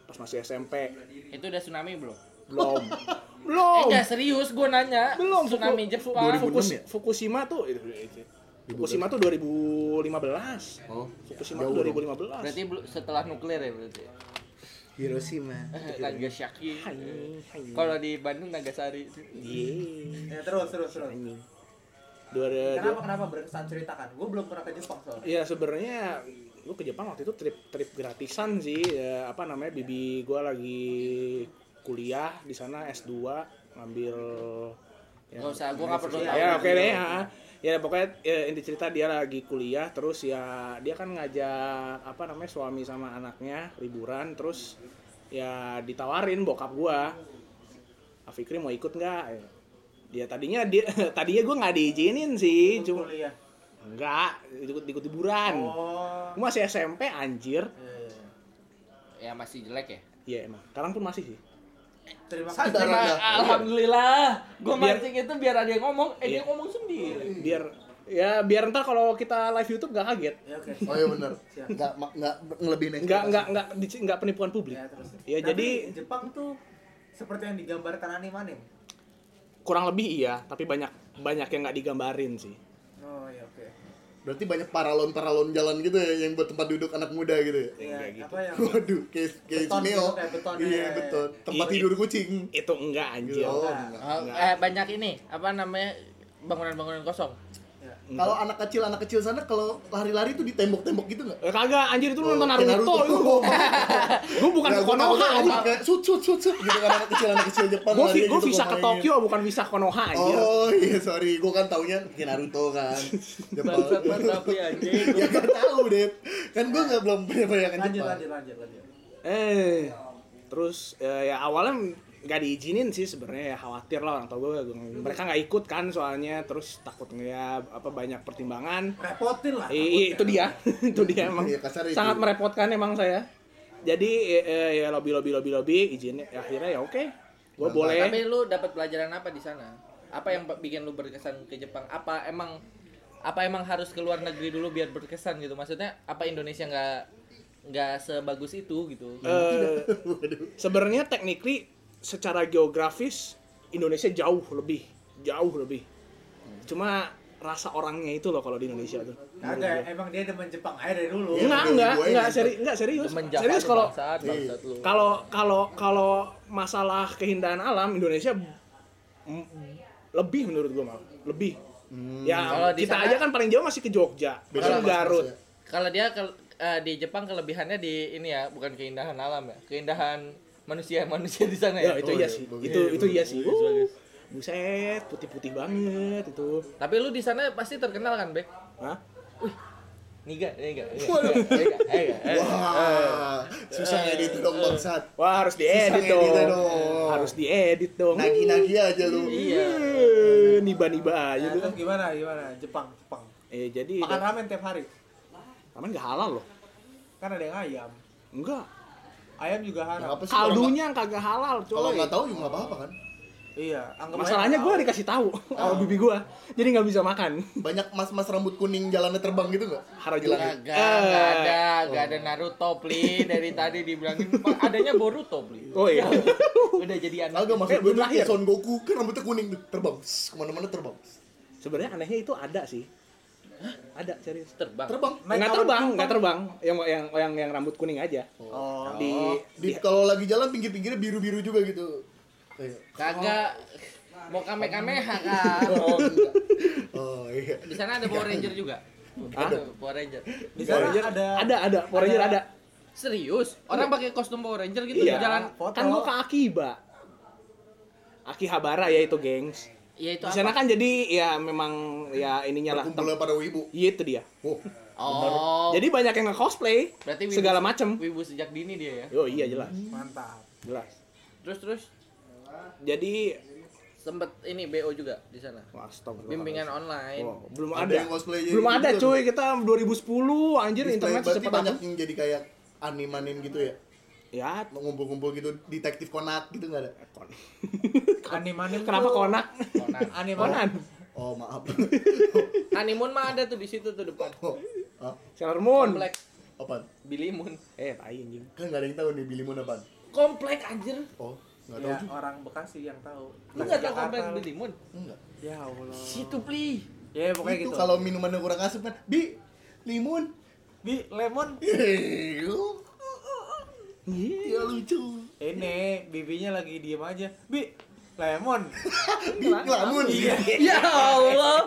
pas masih SMP. itu udah tsunami belum (laughs) Belum. eh Belum. nggak serius gue nanya Belum tsunami Fuku- Jepang 2000. Fukus- 2006 ya? Fukushima tuh itu- itu. Fukushima tuh 2015. oh Fukushima jauh tuh dong. 2015. berarti belum setelah nuklir ya berarti Hiroshima Nagasaki kalau di Bandung Nagasari Iya. ya terus terus terus Dua kenapa kenapa berkesan ceritakan gue belum pernah ke Jepang soalnya Ya sebenarnya lu ke Jepang waktu itu trip trip gratisan sih. Ya, apa namanya bibi gua lagi kuliah di sana S2 ngambil ya, Nggak usah, gua nggak perlu Ya, tahu. ya, oke deh. ya. Ya pokoknya ya, inti cerita dia lagi kuliah terus ya dia kan ngajak apa namanya suami sama anaknya liburan terus ya ditawarin bokap gua Afikri mau ikut nggak? Ya, Dia tadinya dia (laughs) tadinya gua nggak diizinin sih, Ikut cuma kan. kuliah Enggak, ikut ikut liburan. oh Gua masih SMP anjir. Iya, iya. ya masih jelek ya Iya emang. Sekarang pun masih sih. terima kasih sadar Nah, anda alhamdulillah gue Biar- mancing itu biar ada yang ngomong eh dia Iya. ngomong sendiri Biar ya biar ntar kalau kita live YouTube nggak kaget. ya oke oh iya benar Siap. nggak ma- nggak ngelebihin Nggak ekspektasi. nggak nggak dic- nggak penipuan publik. ya terus Ya, Tapi jadi- Jepang tuh seperti yang digambarkan anim anim Kurang lebih iya, tapi banyak banyak yang nggak digambarin sih. oh ya oke Berarti banyak paralon-paralon jalan gitu ya yang buat tempat duduk anak muda gitu ya. ya apa yang (laughs) Waduh, kayak kayak Beton Neo. gitu, kayak beton, Iya, ya. beton. Tempat Iya. tidur kucing. Itu enggak anjir. Oh, Nah. enggak. Ah, Enggak. eh, banyak ini apa namanya bangunan-bangunan kosong ya. Kalau anak kecil anak kecil sana kalau lari-lari tuh di tembok-tembok gitu enggak? Eh, kagak anjir itu lu nonton Kayak Naruto. (laughs) itu. Gua bukan Nah, ke gua Konoha. takutnya pakai sut sut sut sut gitu kan anak kecil anak kecil Jepang. Gue larinya gue gitu, bisa gua ke main. Tokyo bukan bisa ke Konoha anjir. Oh iya sorry, gua kan taunya kayak Naruto kan. Jepang. bangsat tapi anjing (laughs) ya kan tahu deh. Kan gua nggak belum punya bayangan lanjut Jepang. lanjut lanjut lanjut Eh, terus eh, ya awalnya nggak diizinin sih sebenarnya ya khawatir lah orang tua gue mereka nggak ikut kan soalnya terus takut ya apa banyak pertimbangan repotin lah Iya, Eh, eh, itu dia (laughs) itu dia emang ya. Iya, kasar itu. sangat merepotkan emang saya jadi eh, eh, ya lobby lobby lobby lobby izinnya akhirnya ya oke gua boleh Tapi lu dapat pelajaran apa di sana? Apa yang bikin lu berkesan ke Jepang? Apa emang apa emang harus ke luar negeri dulu biar berkesan gitu? Maksudnya apa Indonesia nggak nggak sebagus itu gitu? Eh, sebenarnya technically secara geografis Indonesia jauh lebih jauh lebih cuma rasa orangnya itu loh kalau di Indonesia tuh Kagak, emang dia demen Jepang aja dari dulu. udah Nah, enggak enggak dibuain enggak gitu. seri, enggak serius Demen Java serius lu kalau Iya. bangsat, bangsat lu. kalau kalau kalau masalah keindahan alam Indonesia m- lebih menurut gua malah lebih Kalau ya di kita sana- aja kan paling jauh masih ke Jogja Hmm. Beda masih ke pas-pas Garut ya. Kalau dia ke- eh, di Jepang kelebihannya di ini ya, bukan keindahan alam ya, keindahan manusia-manusia di sana ya, ya. itu Oh, iya iya, sih bagus. itu Iya, itu iya bagus, sih bagus, Uh, bagus. buset putih-putih banget itu Tapi lu di sana pasti terkenal kan, Bek? Hah? Niga, niga, niga, Waduh. niga, niga, niga. Wah, susah ya ngedit dong bangsat. Wah harus Susah diedit dong. ngeditnya dong. Iya, gitu. Harus Hmm. diedit dong. Nagih-nagih aja lu. Iya. Eh, Niba-niba aja Nah, tuh. terus gimana, gimana? Jepang, Jepang. Eh jadi Makan ramen tiap hari. ramen nggak halal loh. Kan ada yang ayam. Enggak. Ayam juga Ya, haram. apa sih kalau nggak- Kaldunya kagak halal Kalau coy. nggak tahu juga nggak apa-apa kan. Iya, anggap aja Masalahnya nggak gue tahu. dikasih tahu Ah. sama bibi gue, jadi nggak bisa makan. Banyak mas-mas rambut kuning jalannya terbang gitu nggak? Harajuku. Hilang. Kagak, Eh. nggak ada, nggak ada Naruto, Pli. Dari tadi dibilangin, "Pak, adanya Boruto, Pli. Oh (laughs) iya. Udah jadi anak. Agak maksud Eh, gue belum tuh kayak lahir. Son Goku kan rambutnya kuning tuh terbang, Sss, kemana-mana terbang, Sss, Sebenarnya anehnya itu ada sih. Ada serius. Terbang. terbang. Naik Nggak kapal terbang, penumpang. nggak terbang. Yang yang yang yang rambut kuning aja. Oh, Di, Di Iya. kalau lagi jalan pinggir-pinggirnya biru-biru juga gitu. Kayak, Kagak. Mau kamehameha kan. Oh iya. Di sana ada Power Ranger juga. Hah? Ada Power Ranger. di sana Ranger ada ada ada Power Ranger ada. ada- Serius? Orang pakai kostum Power Ranger gitu Iya. di jalan? foto. Kan gua ke Akiba. Akihabara ya itu, gengs. Ya itu Di sana apa? kan jadi ya memang ya ininya lah. Kumpulan para wibu. Iya itu dia. Wow. Oh. Jadi banyak yang nge-cosplay berarti wibu- segala macem. Wibu sejak dini dia ya. Oh iya jelas, Mantap. jelas. Terus terus Jadi sempet ini BO juga di sana. wah, astagfirullah. Bimbingan online. Wow, belum Ada ada. yang cosplay jadi belum gitu ada juga cuy, kita 2010 anjir Display Iya, internet berarti secepat apa. banyak yang jadi kayak anim-anim gitu ya. Ya, (laughs) Ngumpul-ngumpul gitu detektif konak gitu nggak ada. kon. Anim-anim Kenapa tuh- konak? Konan. Anim-anim. Konan. Oh, maaf. (laughs) Honeymoon mah ada tuh di situ tuh depan. oh, ah, Sailor Moon. Komplek apaan? Billy Moon. Eh, tai anjing. Kan nggak ada yang tahu nih Billy Moon apaan. Komplek anjir. Oh, nggak tahu Ya, juga. orang Bekasi yang tahu. Lu enggak tahu Jakarta. komplek Billy Moon? Enggak. Ya Allah. Situ, Pli. Ya, pokoknya itu gitu. kalau minumannya kurang asup kan bi limun di lemon ya Iya. lucu ini bibinya lagi diem aja. Bi (laughs) lemon. bi lamun iya Ya Allah.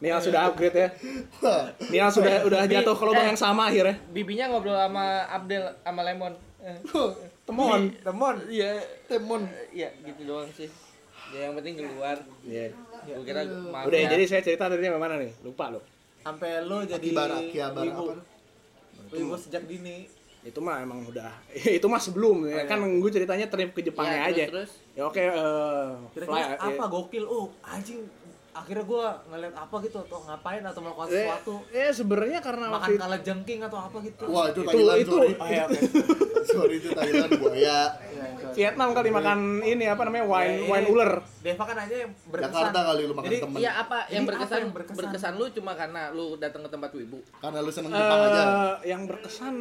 Nih yang sudah upgrade ya. Nih yang (laughs) sudah udah Bi- jatuh ke lubang eh. yang sama akhirnya. Bibinya ngobrol sama Abdel sama (laughs) Lemon. Eh, Temon, temon. Iya, temon iya gitu doang sih. Ya yang penting keluar. Iya. Gue kira maaf. Udah, ya. jadi saya cerita tadi yang mana nih? Lupa loh. Sampai lu jadi Akibara, Akibara, wibu. apa? Wibu sejak dini. Itu mah emang udah. (laughs) itu mah sebelum ya. Kan gue ceritanya trip ke Jepangnya Oh, Iya, aja. terus, terus. Ya oke eh, fly, Kira-kira apa eh, gokil? Oh, anjing. Akhirnya gua ngeliat apa gitu atau ngapain atau melakukan eh, sesuatu. eh, sebenarnya karena Makan waktu itu kala jengking atau apa gitu. wah itu Itu- Thailand itu- sorry Oh, iya, oke. (laughs) sorry itu Thailand buaya Iya, sorry. Vietnam kali makan ini apa namanya Iya, Ya, wine ini wine ular. Deva kan aja yang berkesan. Jakarta kali lu makan Jadi, temen Iya apa Jadi yang apa berkesan, yang berkesan berkesan? lu cuma karena lu datang ke tempat wibu. karena lu seneng Jepang aja Eh yang berkesan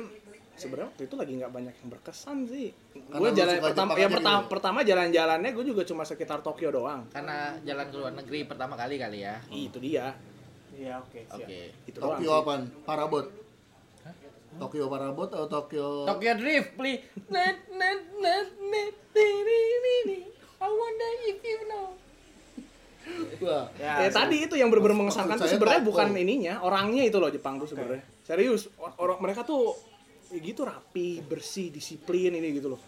sebenarnya waktu itu lagi nggak banyak yang berkesan sih. Karena Gue lu jalan suka pertama Jepang yang aja pertama gitu. pertama jalan-jalannya gue juga cuma sekitar Tokyo doang. Karena jalan ke luar negeri pertama kali kali ya. Itu dia. Iya, oke. siap. Oke. Itu doang. Tokyo sih. apaan parabot Tokyo parabot atau Tokyo Tokyo Drift, please. Net net net net tiri, mini. I wonder if you know. wah Ya, Ya, tadi itu yang bener-bener mengesankan maksud tuh saya sebenarnya Tokyo. bukan ininya, orangnya itu loh Jepang tuh sebenarnya. Serius, or- orang mereka tuh ya gitu rapi, bersih, disiplin ini gitu loh.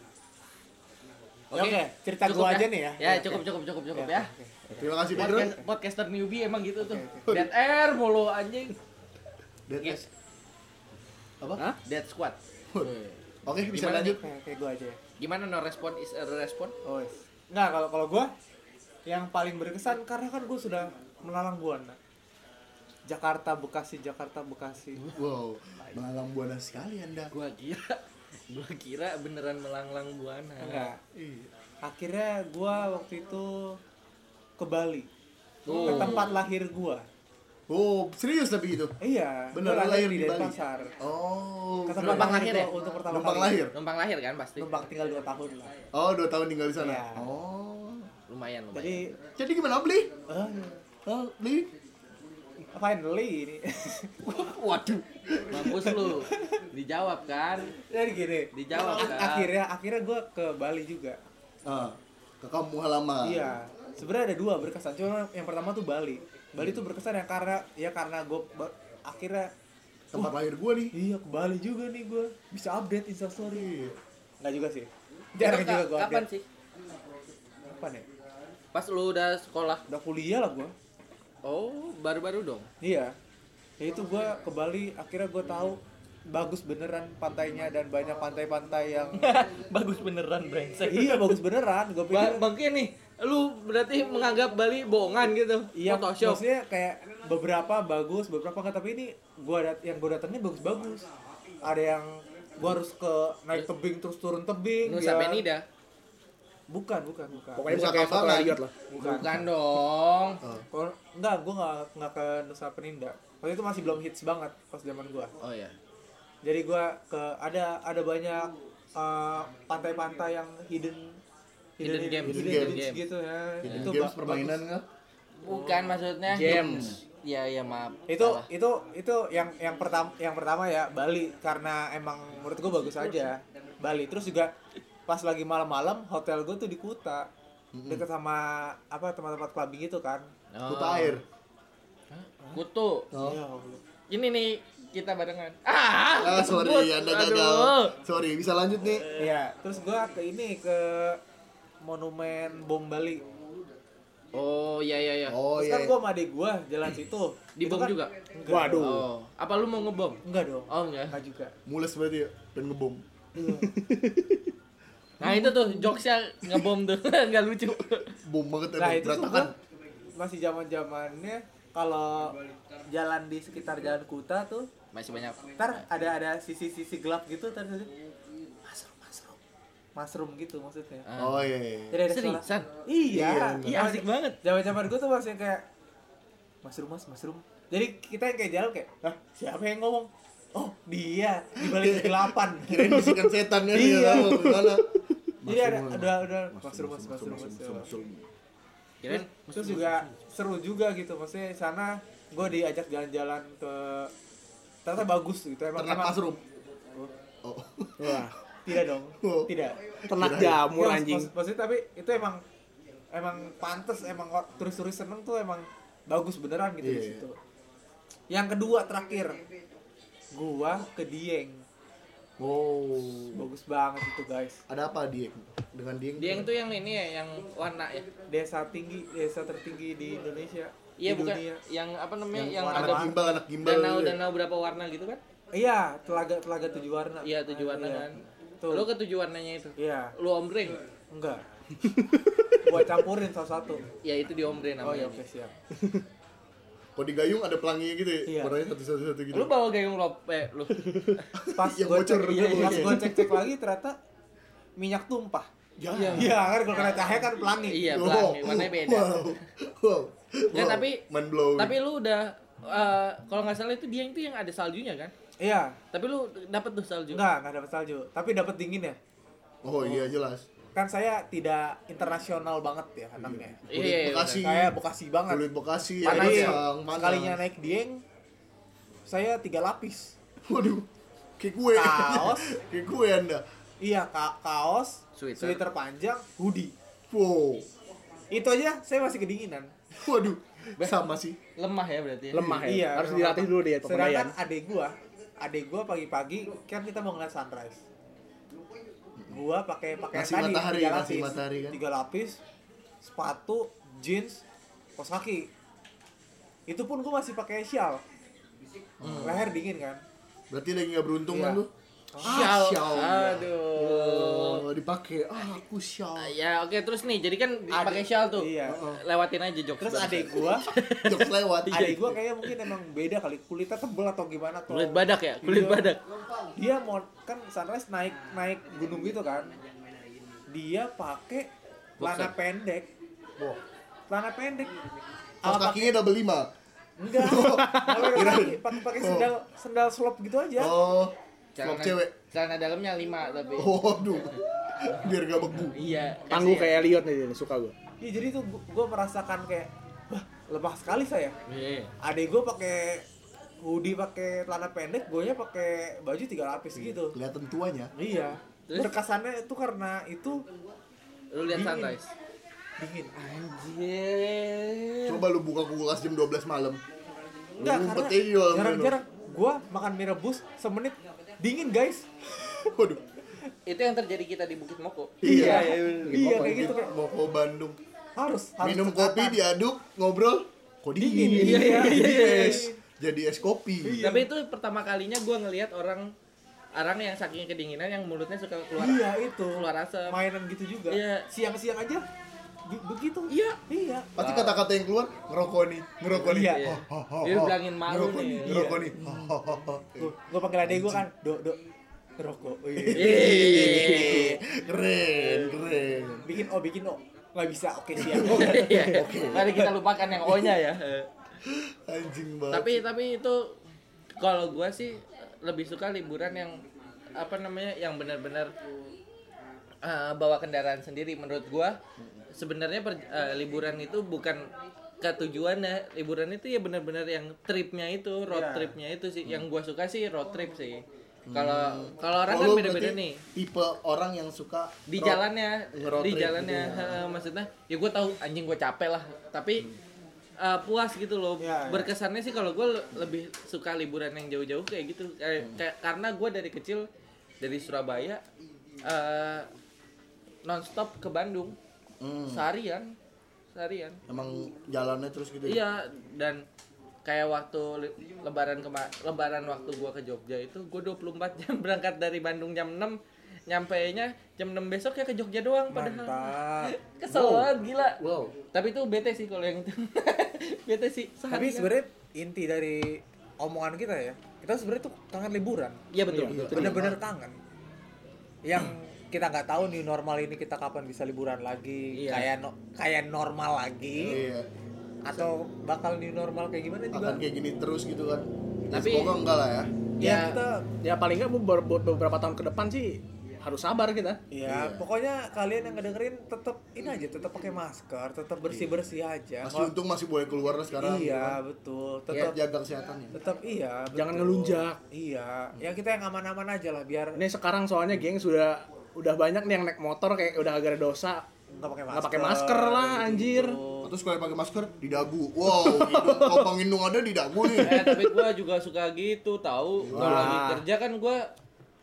Oke, cerita Cukup gua aja nih ya. Ya, cukup cukup cukup cukup ya. terima kasih Pedro Podcast, podcaster newbie emang gitu tuh. Dead air mulu anjing. Dead Yes. apa Hah? Dead squad. oke bisa Gimana lanjut Oke, oke, gua aja ya. Gimana no respon is a respon? Oh, yes. Nah, kalau kalau gua yang paling berkesan karena kan gua sudah melalang buana. Jakarta Bekasi Jakarta Bekasi Hmm. Wow, malam buana sekali anda. Gua kira (laughs) gua kira beneran melanglang buana. enggak Iya. akhirnya gua waktu itu ke Bali Oh. ke tempat lahir gua Oh, serius tapi itu? iya Bener, gua lahir di Bali? Denpasar Oh, ke tempat Numpang lahir lahir gua ya? untuk pertama numpang kali lahir. Numpang lahir kan pasti. numpang tinggal 2 tahun lah Oh, dua tahun tinggal di sana. Iya. Oh, Lumayan lumayan. jadi jadi gimana beli? eh, Oh, beli? finally ini (laughs) Waduh. Mampus lu. Dijawab kan? jadi gini Dijawab, ak- kan? Kak. akhirnya akhirnya gua ke Bali juga Ah, ke kamu halaman. Iya, sebenarnya ada dua berkesan. Cuma yang pertama tuh Bali. Bali tuh berkesan ya karena ya karena gue akhirnya Tempat wah, lahir gua nih. iya ke Bali juga nih gue bisa update instastory. Nggak juga sih. Jarang Itu ka- juga gue Kapan update. sih? Kapan ya? Pas lu udah sekolah. Udah kuliah lah gue. Oh, baru-baru dong. Iya. Ya itu gue ke Bali akhirnya gue tahu bagus beneran pantainya dan banyak pantai-pantai yang (laughs) Bagus beneran brengsek. iya bagus beneran gue Ba pikir bangke nih, lu berarti menganggap Bali bohongan gitu. Iya, Photoshop. maksudnya kayak beberapa bagus, beberapa enggak, tapi ini gua dat yang gua datengin bagus-bagus. Ada yang gua harus ke naik tebing terus turun tebing. Nusa ya. Penida. Bukan, bukan, bukan. Pokoknya Nusa bukan kayak foto Kambangan. Elliot lah. bukan. Bukan Oh. dong. Kalau- enggak, gua enggak enggak ke Nusa Peninda. Waktu itu masih belum hits banget pas zaman gua. Oh ya. Jadi gua ke ada ada banyak eh, pantai-pantai yang hidden Hidden game, hidden, hidden games game. gitu ya. Hidden Itu games ba- permainan nggak? Bukan maksudnya. James. Ya ya maaf. itu Salah. itu itu yang yang pertama yang pertama ya Bali karena emang menurut gue bagus aja Bali terus juga pas lagi malam-malam hotel gue tuh di Kuta deket sama apa tempat-tempat clubbing itu kan Oh. Kuta air. Kutu. Oh. Iya, Allah. Ini nih kita barengan. Ah, Ah, sorry, tersebut. anda Aduh. gagal. Sorry, bisa lanjut nih. iya terus gue ke ini ke monumen bom Bali Oh iya iya iya. Oh terus kan iya. gue sama adik gue jalan situ Di Itu bom kan- juga. enggak, Waduh. Oh, apa lu mau ngebom? enggak dong Oh enggak. enggak juga Mules berarti ya, dan ngebom. Iya. Nah, itu tuh jokesnya ngebom tuh. (laughs) Enggak lucu. Bom banget emang nah itu tuh berantakan. gua masih zaman zamannya kalau jalan di sekitar jalan Kuta tuh Masih banyak. ntar ada ada sisi-sisi gelap gitu ntar sisi- mushroom mushroom mushroom gitu maksudnya Ah. Oh iya. iya. jadi ada suara Seriusan? iya Iya, asik banget. zaman zaman gue tuh masih kayak mushroom mas mushroom jadi kita yang kayak jalan kayak Hah, siapa yang ngomong oh dia di balik (laughs) kegelapan Kirain bisikan setan ya. Iya. Gimana? jadi ada ada ada mushroom mas mushroom mas Kirain terus juga seru juga gitu maksudnya di sana gue diajak jalan-jalan ke ternyata bagus gitu emang Ternak emang- mushroom. Oh. Wah, tidak dong Oh. tidak ternak Kirain. jamur Iya, anjing. maksud- maksudnya tapi itu emang emang pantas emang or- turis-turis seneng tuh emang bagus beneran gitu di Iya. situ. Yang kedua terakhir gua ke Dieng. Oh. Bagus banget itu guys. Ada apa Dieng? Dengan Dieng? dia yang tuh yang ini ya, yang warna ya. Desa tinggi, desa tertinggi di Indonesia. Iya di bukan dunia. yang apa namanya Yang yang, warna ada gimbal, anak gimbal danau gitu ya? danau berapa warna gitu kan? Iya, telaga telaga tujuh warna. Iya tujuh warna Iya. kan. Tuh. Lu ke tujuh warnanya itu. Iya, Lu ombreng. enggak. gua campurin salah satu. Ya itu di ombreng Oh namanya. iya, oke siap. Kalau di gayung ada pelanginya gitu ya? Iya. Warnanya satu-satu gitu. Lu bawa gayung lope (laughs) lu. Pas Yang gua cek, bocor dulu. iya, pas gua cek-cek lagi ternyata minyak tumpah. Ya. Iya kan kalau kena cahaya kan pelangi. iya, Wow. pelangi warnanya beda. Wow. Wow. Ya, Wow. tapi- mind blowing. Tapi lu udah eh, kalau nggak salah itu dia itu yang ada saljunya kan? Iya. Tapi lu dapet tuh salju. Enggak, enggak dapat salju, tapi dapat dingin ya. Oh iya jelas. Kan saya tidak internasional banget ya anaknya. Iya, Kulit iya, iya, Bekasi. Saya Bekasi banget. Kulit Bekasi. kan, Panas air ya. pasang, panas. Sekalinya naik Dieng saya tiga lapis. Waduh. Kayak gue. Kaos. (laughs) Kayak gue anda. Iya, ka- kaos, Sweater. panjang, hoodie. Wow. Itu aja saya masih kedinginan. Waduh. Sama sih. Lemah ya berarti. ya? Lemah ya. Iya, Harus dilatih dulu dia Sedangkan pemberdayaan. adek gua, adek gua pagi-pagi kan kita mau ngeliat sunrise. Gua pakai pakaian Nasi tadi matahari, tiga nasi lapis, matahari kan? tiga lapis, sepatu, jeans, kaos kaki. Itu pun gua masih pakai shawl. Hmm. Leher dingin kan? Berarti lagi nggak beruntung Iya. kan lu? Ah, Sial. sial. Aduh. Oh, kalau dipakai ah aku syal ya oke terus nih jadi kan pakai shawl tuh Iya. lewatin aja jokes Terus bangsa. adek gua, (laughs) jokes lewat Iya, Iya, adek gua kayaknya mungkin emang beda kali kulitnya tebel atau gimana tuh. kulit badak ya kulit Iya. badak Dia mau kan sunrise naik naik gunung gitu kan. Dia pakai celana Boxer. pendek. Wah, celana pendek. Kaos Apa- kakinya double lima Enggak. Pakai- Pakai pakai sendal sendal slop gitu aja. oh celok cewek celana dalamnya lima tapi Oh. waduh biar gak beku iya Tangguh kasihan. kayak Elliot nih, ini suka gue. Iya, jadi tuh gua- gua merasakan kayak wah, lemah sekali saya. Iya. Adek gua pakai hoodie pakai celana pendek, gonya pakai baju tiga lapis gitu. kelihatan tuanya Iya. Terus? Berkesannya itu karena itu lu lihat Dingin. sunrise dingin. anjir coba lu buka kulas jam 12 malam Enggak, Ngumpet aja di karena dalam jarang-jarang gua makan mie rebus semenit dingin, guys. minum. waduh itu yang terjadi kita di bukit moko Iya, iya, iya kayak gitu. Kak. mau ke Bandung Harus, harus minum cekatan. kopi diaduk ngobrol kok dingin Iya, iya, Jadi iya. es jadi es kopi tapi itu pertama kalinya gua ngelihat orang orang yang saking kedinginan yang mulutnya suka keluar Iya, itu. keluar asap Mainan gitu juga. Iya. Siang-siang aja be- begitu. Iya. Iya. pasti kata-kata yang keluar ngerokok nih ngerokok nih Iya. Ho, ho, ho, Dia "Iya." ho. bilangin malu ngerokok nih. nih ngerokok nih Ho, ho, ho, ho. Gua, gua panggil adek gua kan, "Dok, dok, rokok." Oh, iya. Iya. keren keren Bikin oh, bikin oh. Nggak bisa. Oke, (laughs) siap. Mari kita lupakan yang O-nya ya. (laughs) anjing banget tapi tapi itu kalau gua sih lebih suka liburan yang apa namanya yang benar-benar eh, bawa kendaraan sendiri menurut gua. Sebenarnya per- eh, liburan itu bukan ke tujuannya. Liburan itu ya benar-benar yang tripnya itu, road Iya. tripnya itu sih. Yang gua suka sih road trip sih. Kalau kalau orang kan Kalau Hmm. Oh, lu beda-beda berarti nih. tipe orang yang suka di rock. jalannya ngeroad di trip jalannya gitu heeh, maksudnya ya gue tahu anjing gue capek lah tapi eh, puas gitu loh Ya, ya. berkesannya sih kalau gue lebih suka liburan yang jauh-jauh kayak gitu Kayak- kayak- karena gue dari kecil dari Surabaya eh nonstop ke Bandung Hmm, seharian seharian emang jalannya terus gitu ya? iya dan kayak waktu li- lebaran kema lebaran waktu gua ke Jogja itu gua 24 (laughs) jam berangkat dari Bandung jam 6 nyampe nya jam 6 besok ya ke Jogja doang padahal Mantap. Kesel banget gila. wow Tapi itu bete sih kalau yang itu. (laughs) bete sih. seharian. Tapi sebenarnya inti dari omongan kita ya, kita sebenarnya tuh kangen liburan. Iya betul. betul. Bener-bener kangen. Yang kita nggak tahu new normal ini kita kapan bisa liburan lagi, Iya. kayak no- kayak normal lagi iya atau bakal new normal kayak gimana juga. akan kayak gini terus gitu kan Ya, Tapi- semoga enggak lah ya Ya, Ya. kita Ya paling nggak beber- beberapa tahun ke depan sih harus sabar kita. ya pokoknya kalian yang ngedengerin tetap ini aja, tetap pakai masker, tetap Iya. bersih-bersih aja. masih untung masih boleh keluar lah sekarang gitu kan. iya, betul. tetap Tetap jaga kesehatan ya tetap iya. Jangan betul. ngelunjak. Iya, ya kita yang aman-aman aja lah biar Ini sekarang soalnya geng sudah udah banyak nih yang naik motor kayak udah agak ada dosa. nggak pakai masker. Nggak pakai masker lah, anjir. gitu. terus kalau pakai masker di dagu wow hidung kopang hidung ada di dagu nih Eh, tapi gua juga suka gitu, tahu. Kalau lagi kerja kan gua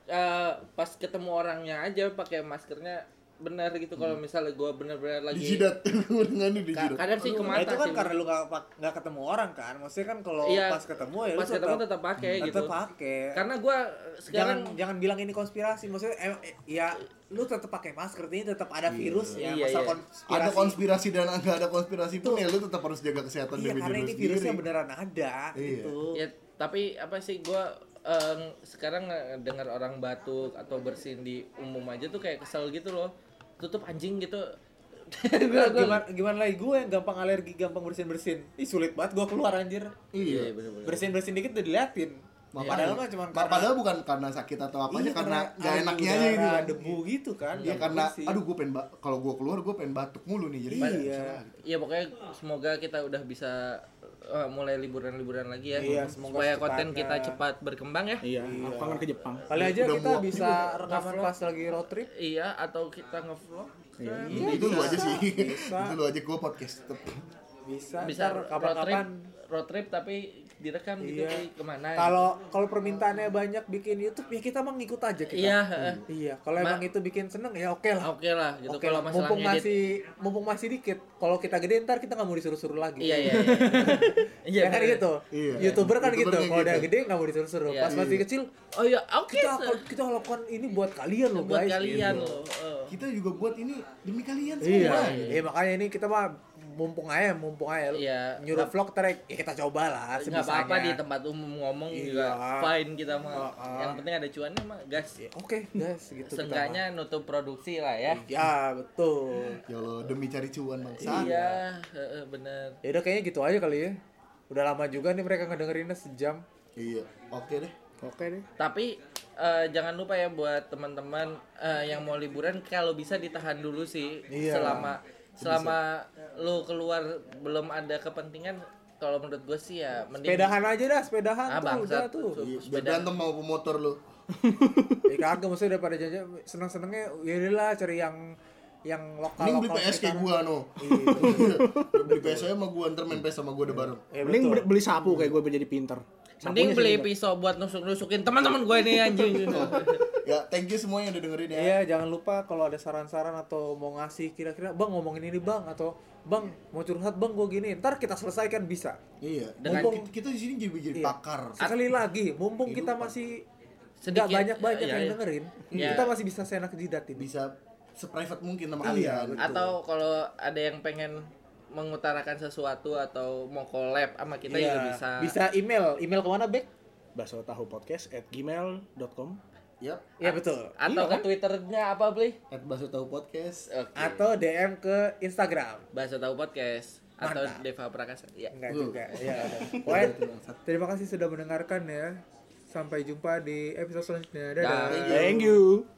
eh, pas ketemu orangnya aja pakai maskernya benar gitu kalau misalnya gua bener-bener lagi dijidat (laughs) dengan di Ka- dijidat kadang sih ke Nah, mata itu kan sih. karena lu nggak pak- nggak ketemu orang kan. Maksudnya kan kalau Iya, pas ketemu ya lu pas ketemu tetap pakai gitu. tetap pakai. Karena gua eh, jangan gitu. sekarang jangan bilang ini konspirasi. Maksudnya em- eh, ya lu tetap pakai masker ini tetap ada virus ya. Iya, Masa iya. konspirasi. ada konspirasi dan enggak ada konspirasi pun ya lu tetap harus jaga kesehatan Iya, demi karena diri lu ini virusnya sendiri. beneran ada Iya. gitu. ya tapi apa sih gua eh, sekarang dengar orang batuk atau bersin di umum aja tuh kayak kesel gitu loh. Tutup anjing gitu. (laughs) Iya, Gua, gimana, gimana lagi gue yang gampang alergi, gampang bersin-bersin. Ih sulit banget gua keluar anjir. iya bener-bener. Bersin-bersin dikit udah diliatin. Padahal mah cuman Pa- Iya. padahal bukan karena sakit atau apanya Iya, karena gak alergi enaknya aja gitu udara, kan Debu gitu kan. ya gampang karena bersin. aduh gue pengen ba- kalau gue keluar gue pengen batuk mulu nih jadi ya gitu. nggak Iya. bisa lagi. Iya pokoknya semoga kita udah bisa uh, mulai liburan-liburan lagi ya. Iya, semoga supaya secepatnya. konten kita cepat berkembang ya. Iya, aku kangen ke Jepang. Kali aja Udah kita muak bisa rekaman Nge-vlog. pas lagi road trip. Iya, atau kita nge-vlog. Iya, kan? itu lu bisa, Gitu aja sih Gitu bisa. (laughs) itu lu aja gue podcast tetep Bisa. Bisa ntar road trip, kapan-kapan road trip tapi direkam gitu Iya. "Ih, kemana Kalau kalau permintaannya banyak bikin YouTube ya kita mah ngikut aja kita. iya heeh. Iya, kalau emang itu bikin seneng ya oke lah. oke lah gitu Oke kalau lah. masalah mumpung ngedit masih mumpung masih dikit. Kalau kita gede ntar kita nggak mau disuruh-suruh lagi. iya (laughs) iya iya Ya kan bener. gitu. Iya. Youtuber kan Youtuber gitu. kayak Kalau udah gitu. gede nggak mau disuruh-suruh. Iya. Pas masih kecil oh iya oke kita sir. akan- kita lakukan ini buat kalian loh buat guys. kalian gitu. loh eh. Kita juga buat ini demi kalian semua. Iya. Iya makanya ini kita mah mumpung aja mumpung aja Iya. nyuruh vlog track ya kita coba lah nggak apa-apa di sebisanya. tempat umum ngomong Iya. Ah, juga fine kita mah Heeh. yang penting ada cuannya mah gas Ya, Oke, guys, gitu kita mah. Seenggaknya nutup produksi lah ya Ya, betul. Ya Allah, demi cari cuan bangsa. iya heeh, bener Ya udah kayaknya gitu aja kali ya. Udah lama juga nih mereka ngedengerinnya sejam. Iya. Oke deh. Oke deh. Tapi eh, jangan lupa ya buat teman-teman eh, yang mau liburan kalau bisa ditahan dulu sih Iya. selama selama lu keluar belum ada kepentingan kalau menurut gue sih ya mending Sepedahan aja dah, sepedahan Ah, tuh udah bangsat. tuh. Iya, biar Sepeda. berantem mau pemotor lu. Ya kagak maksudnya udah pada jajan seneng-senengnya ya udah lah cari yang yang lokal. Mending beli lokal PS kayak sekitaran. gua no. (laughs) Lu beli PS aja sama gua, ntar main PS sama gua udah bareng. Ya, Mending betul. beli- beli sapu kayak gue jadi pinter. mending Sapunya beli sih, pisau buat nusuk-nusukin teman-teman gue ini anjing. Ya, thank you semuanya udah dengerin ya. Iya, jangan lupa kalau ada saran-saran atau mau ngasih kira-kira, Bang ngomongin ini Bang atau Bang mau curhat Bang gua gini, ntar kita selesaikan bisa. Iya. Dengan- Mumpung kita, kita di sini jadi jadi Iya. pakar. Sekali lagi, mumpung kita masih Sedikit, nggak banyak-banyak iya, yang iya. dengerin, Iya. kita masih bisa senak jidatin. Bisa seprivate mungkin sama Iya, kalian. gitu. Atau kalau ada yang pengen mengutarakan sesuatu atau mau collab sama kita juga bisa. Iya, Bisa email, email kemana Bek? Baso tahu podcast at gmail.com. Yap. Iya betul. Atau kan? ke twitternya apa beli? At Baso Tahu Podcast. Oke. Atau DM ke Instagram. Bahasa tahu podcast atau Mantap. Deva Prakasa. Iya. Enggak Uh. juga. Ya (laughs) udah. Pokoknya, terima kasih sudah mendengarkan ya. Sampai jumpa di episode selanjutnya. Dadah. Dah. Thank you.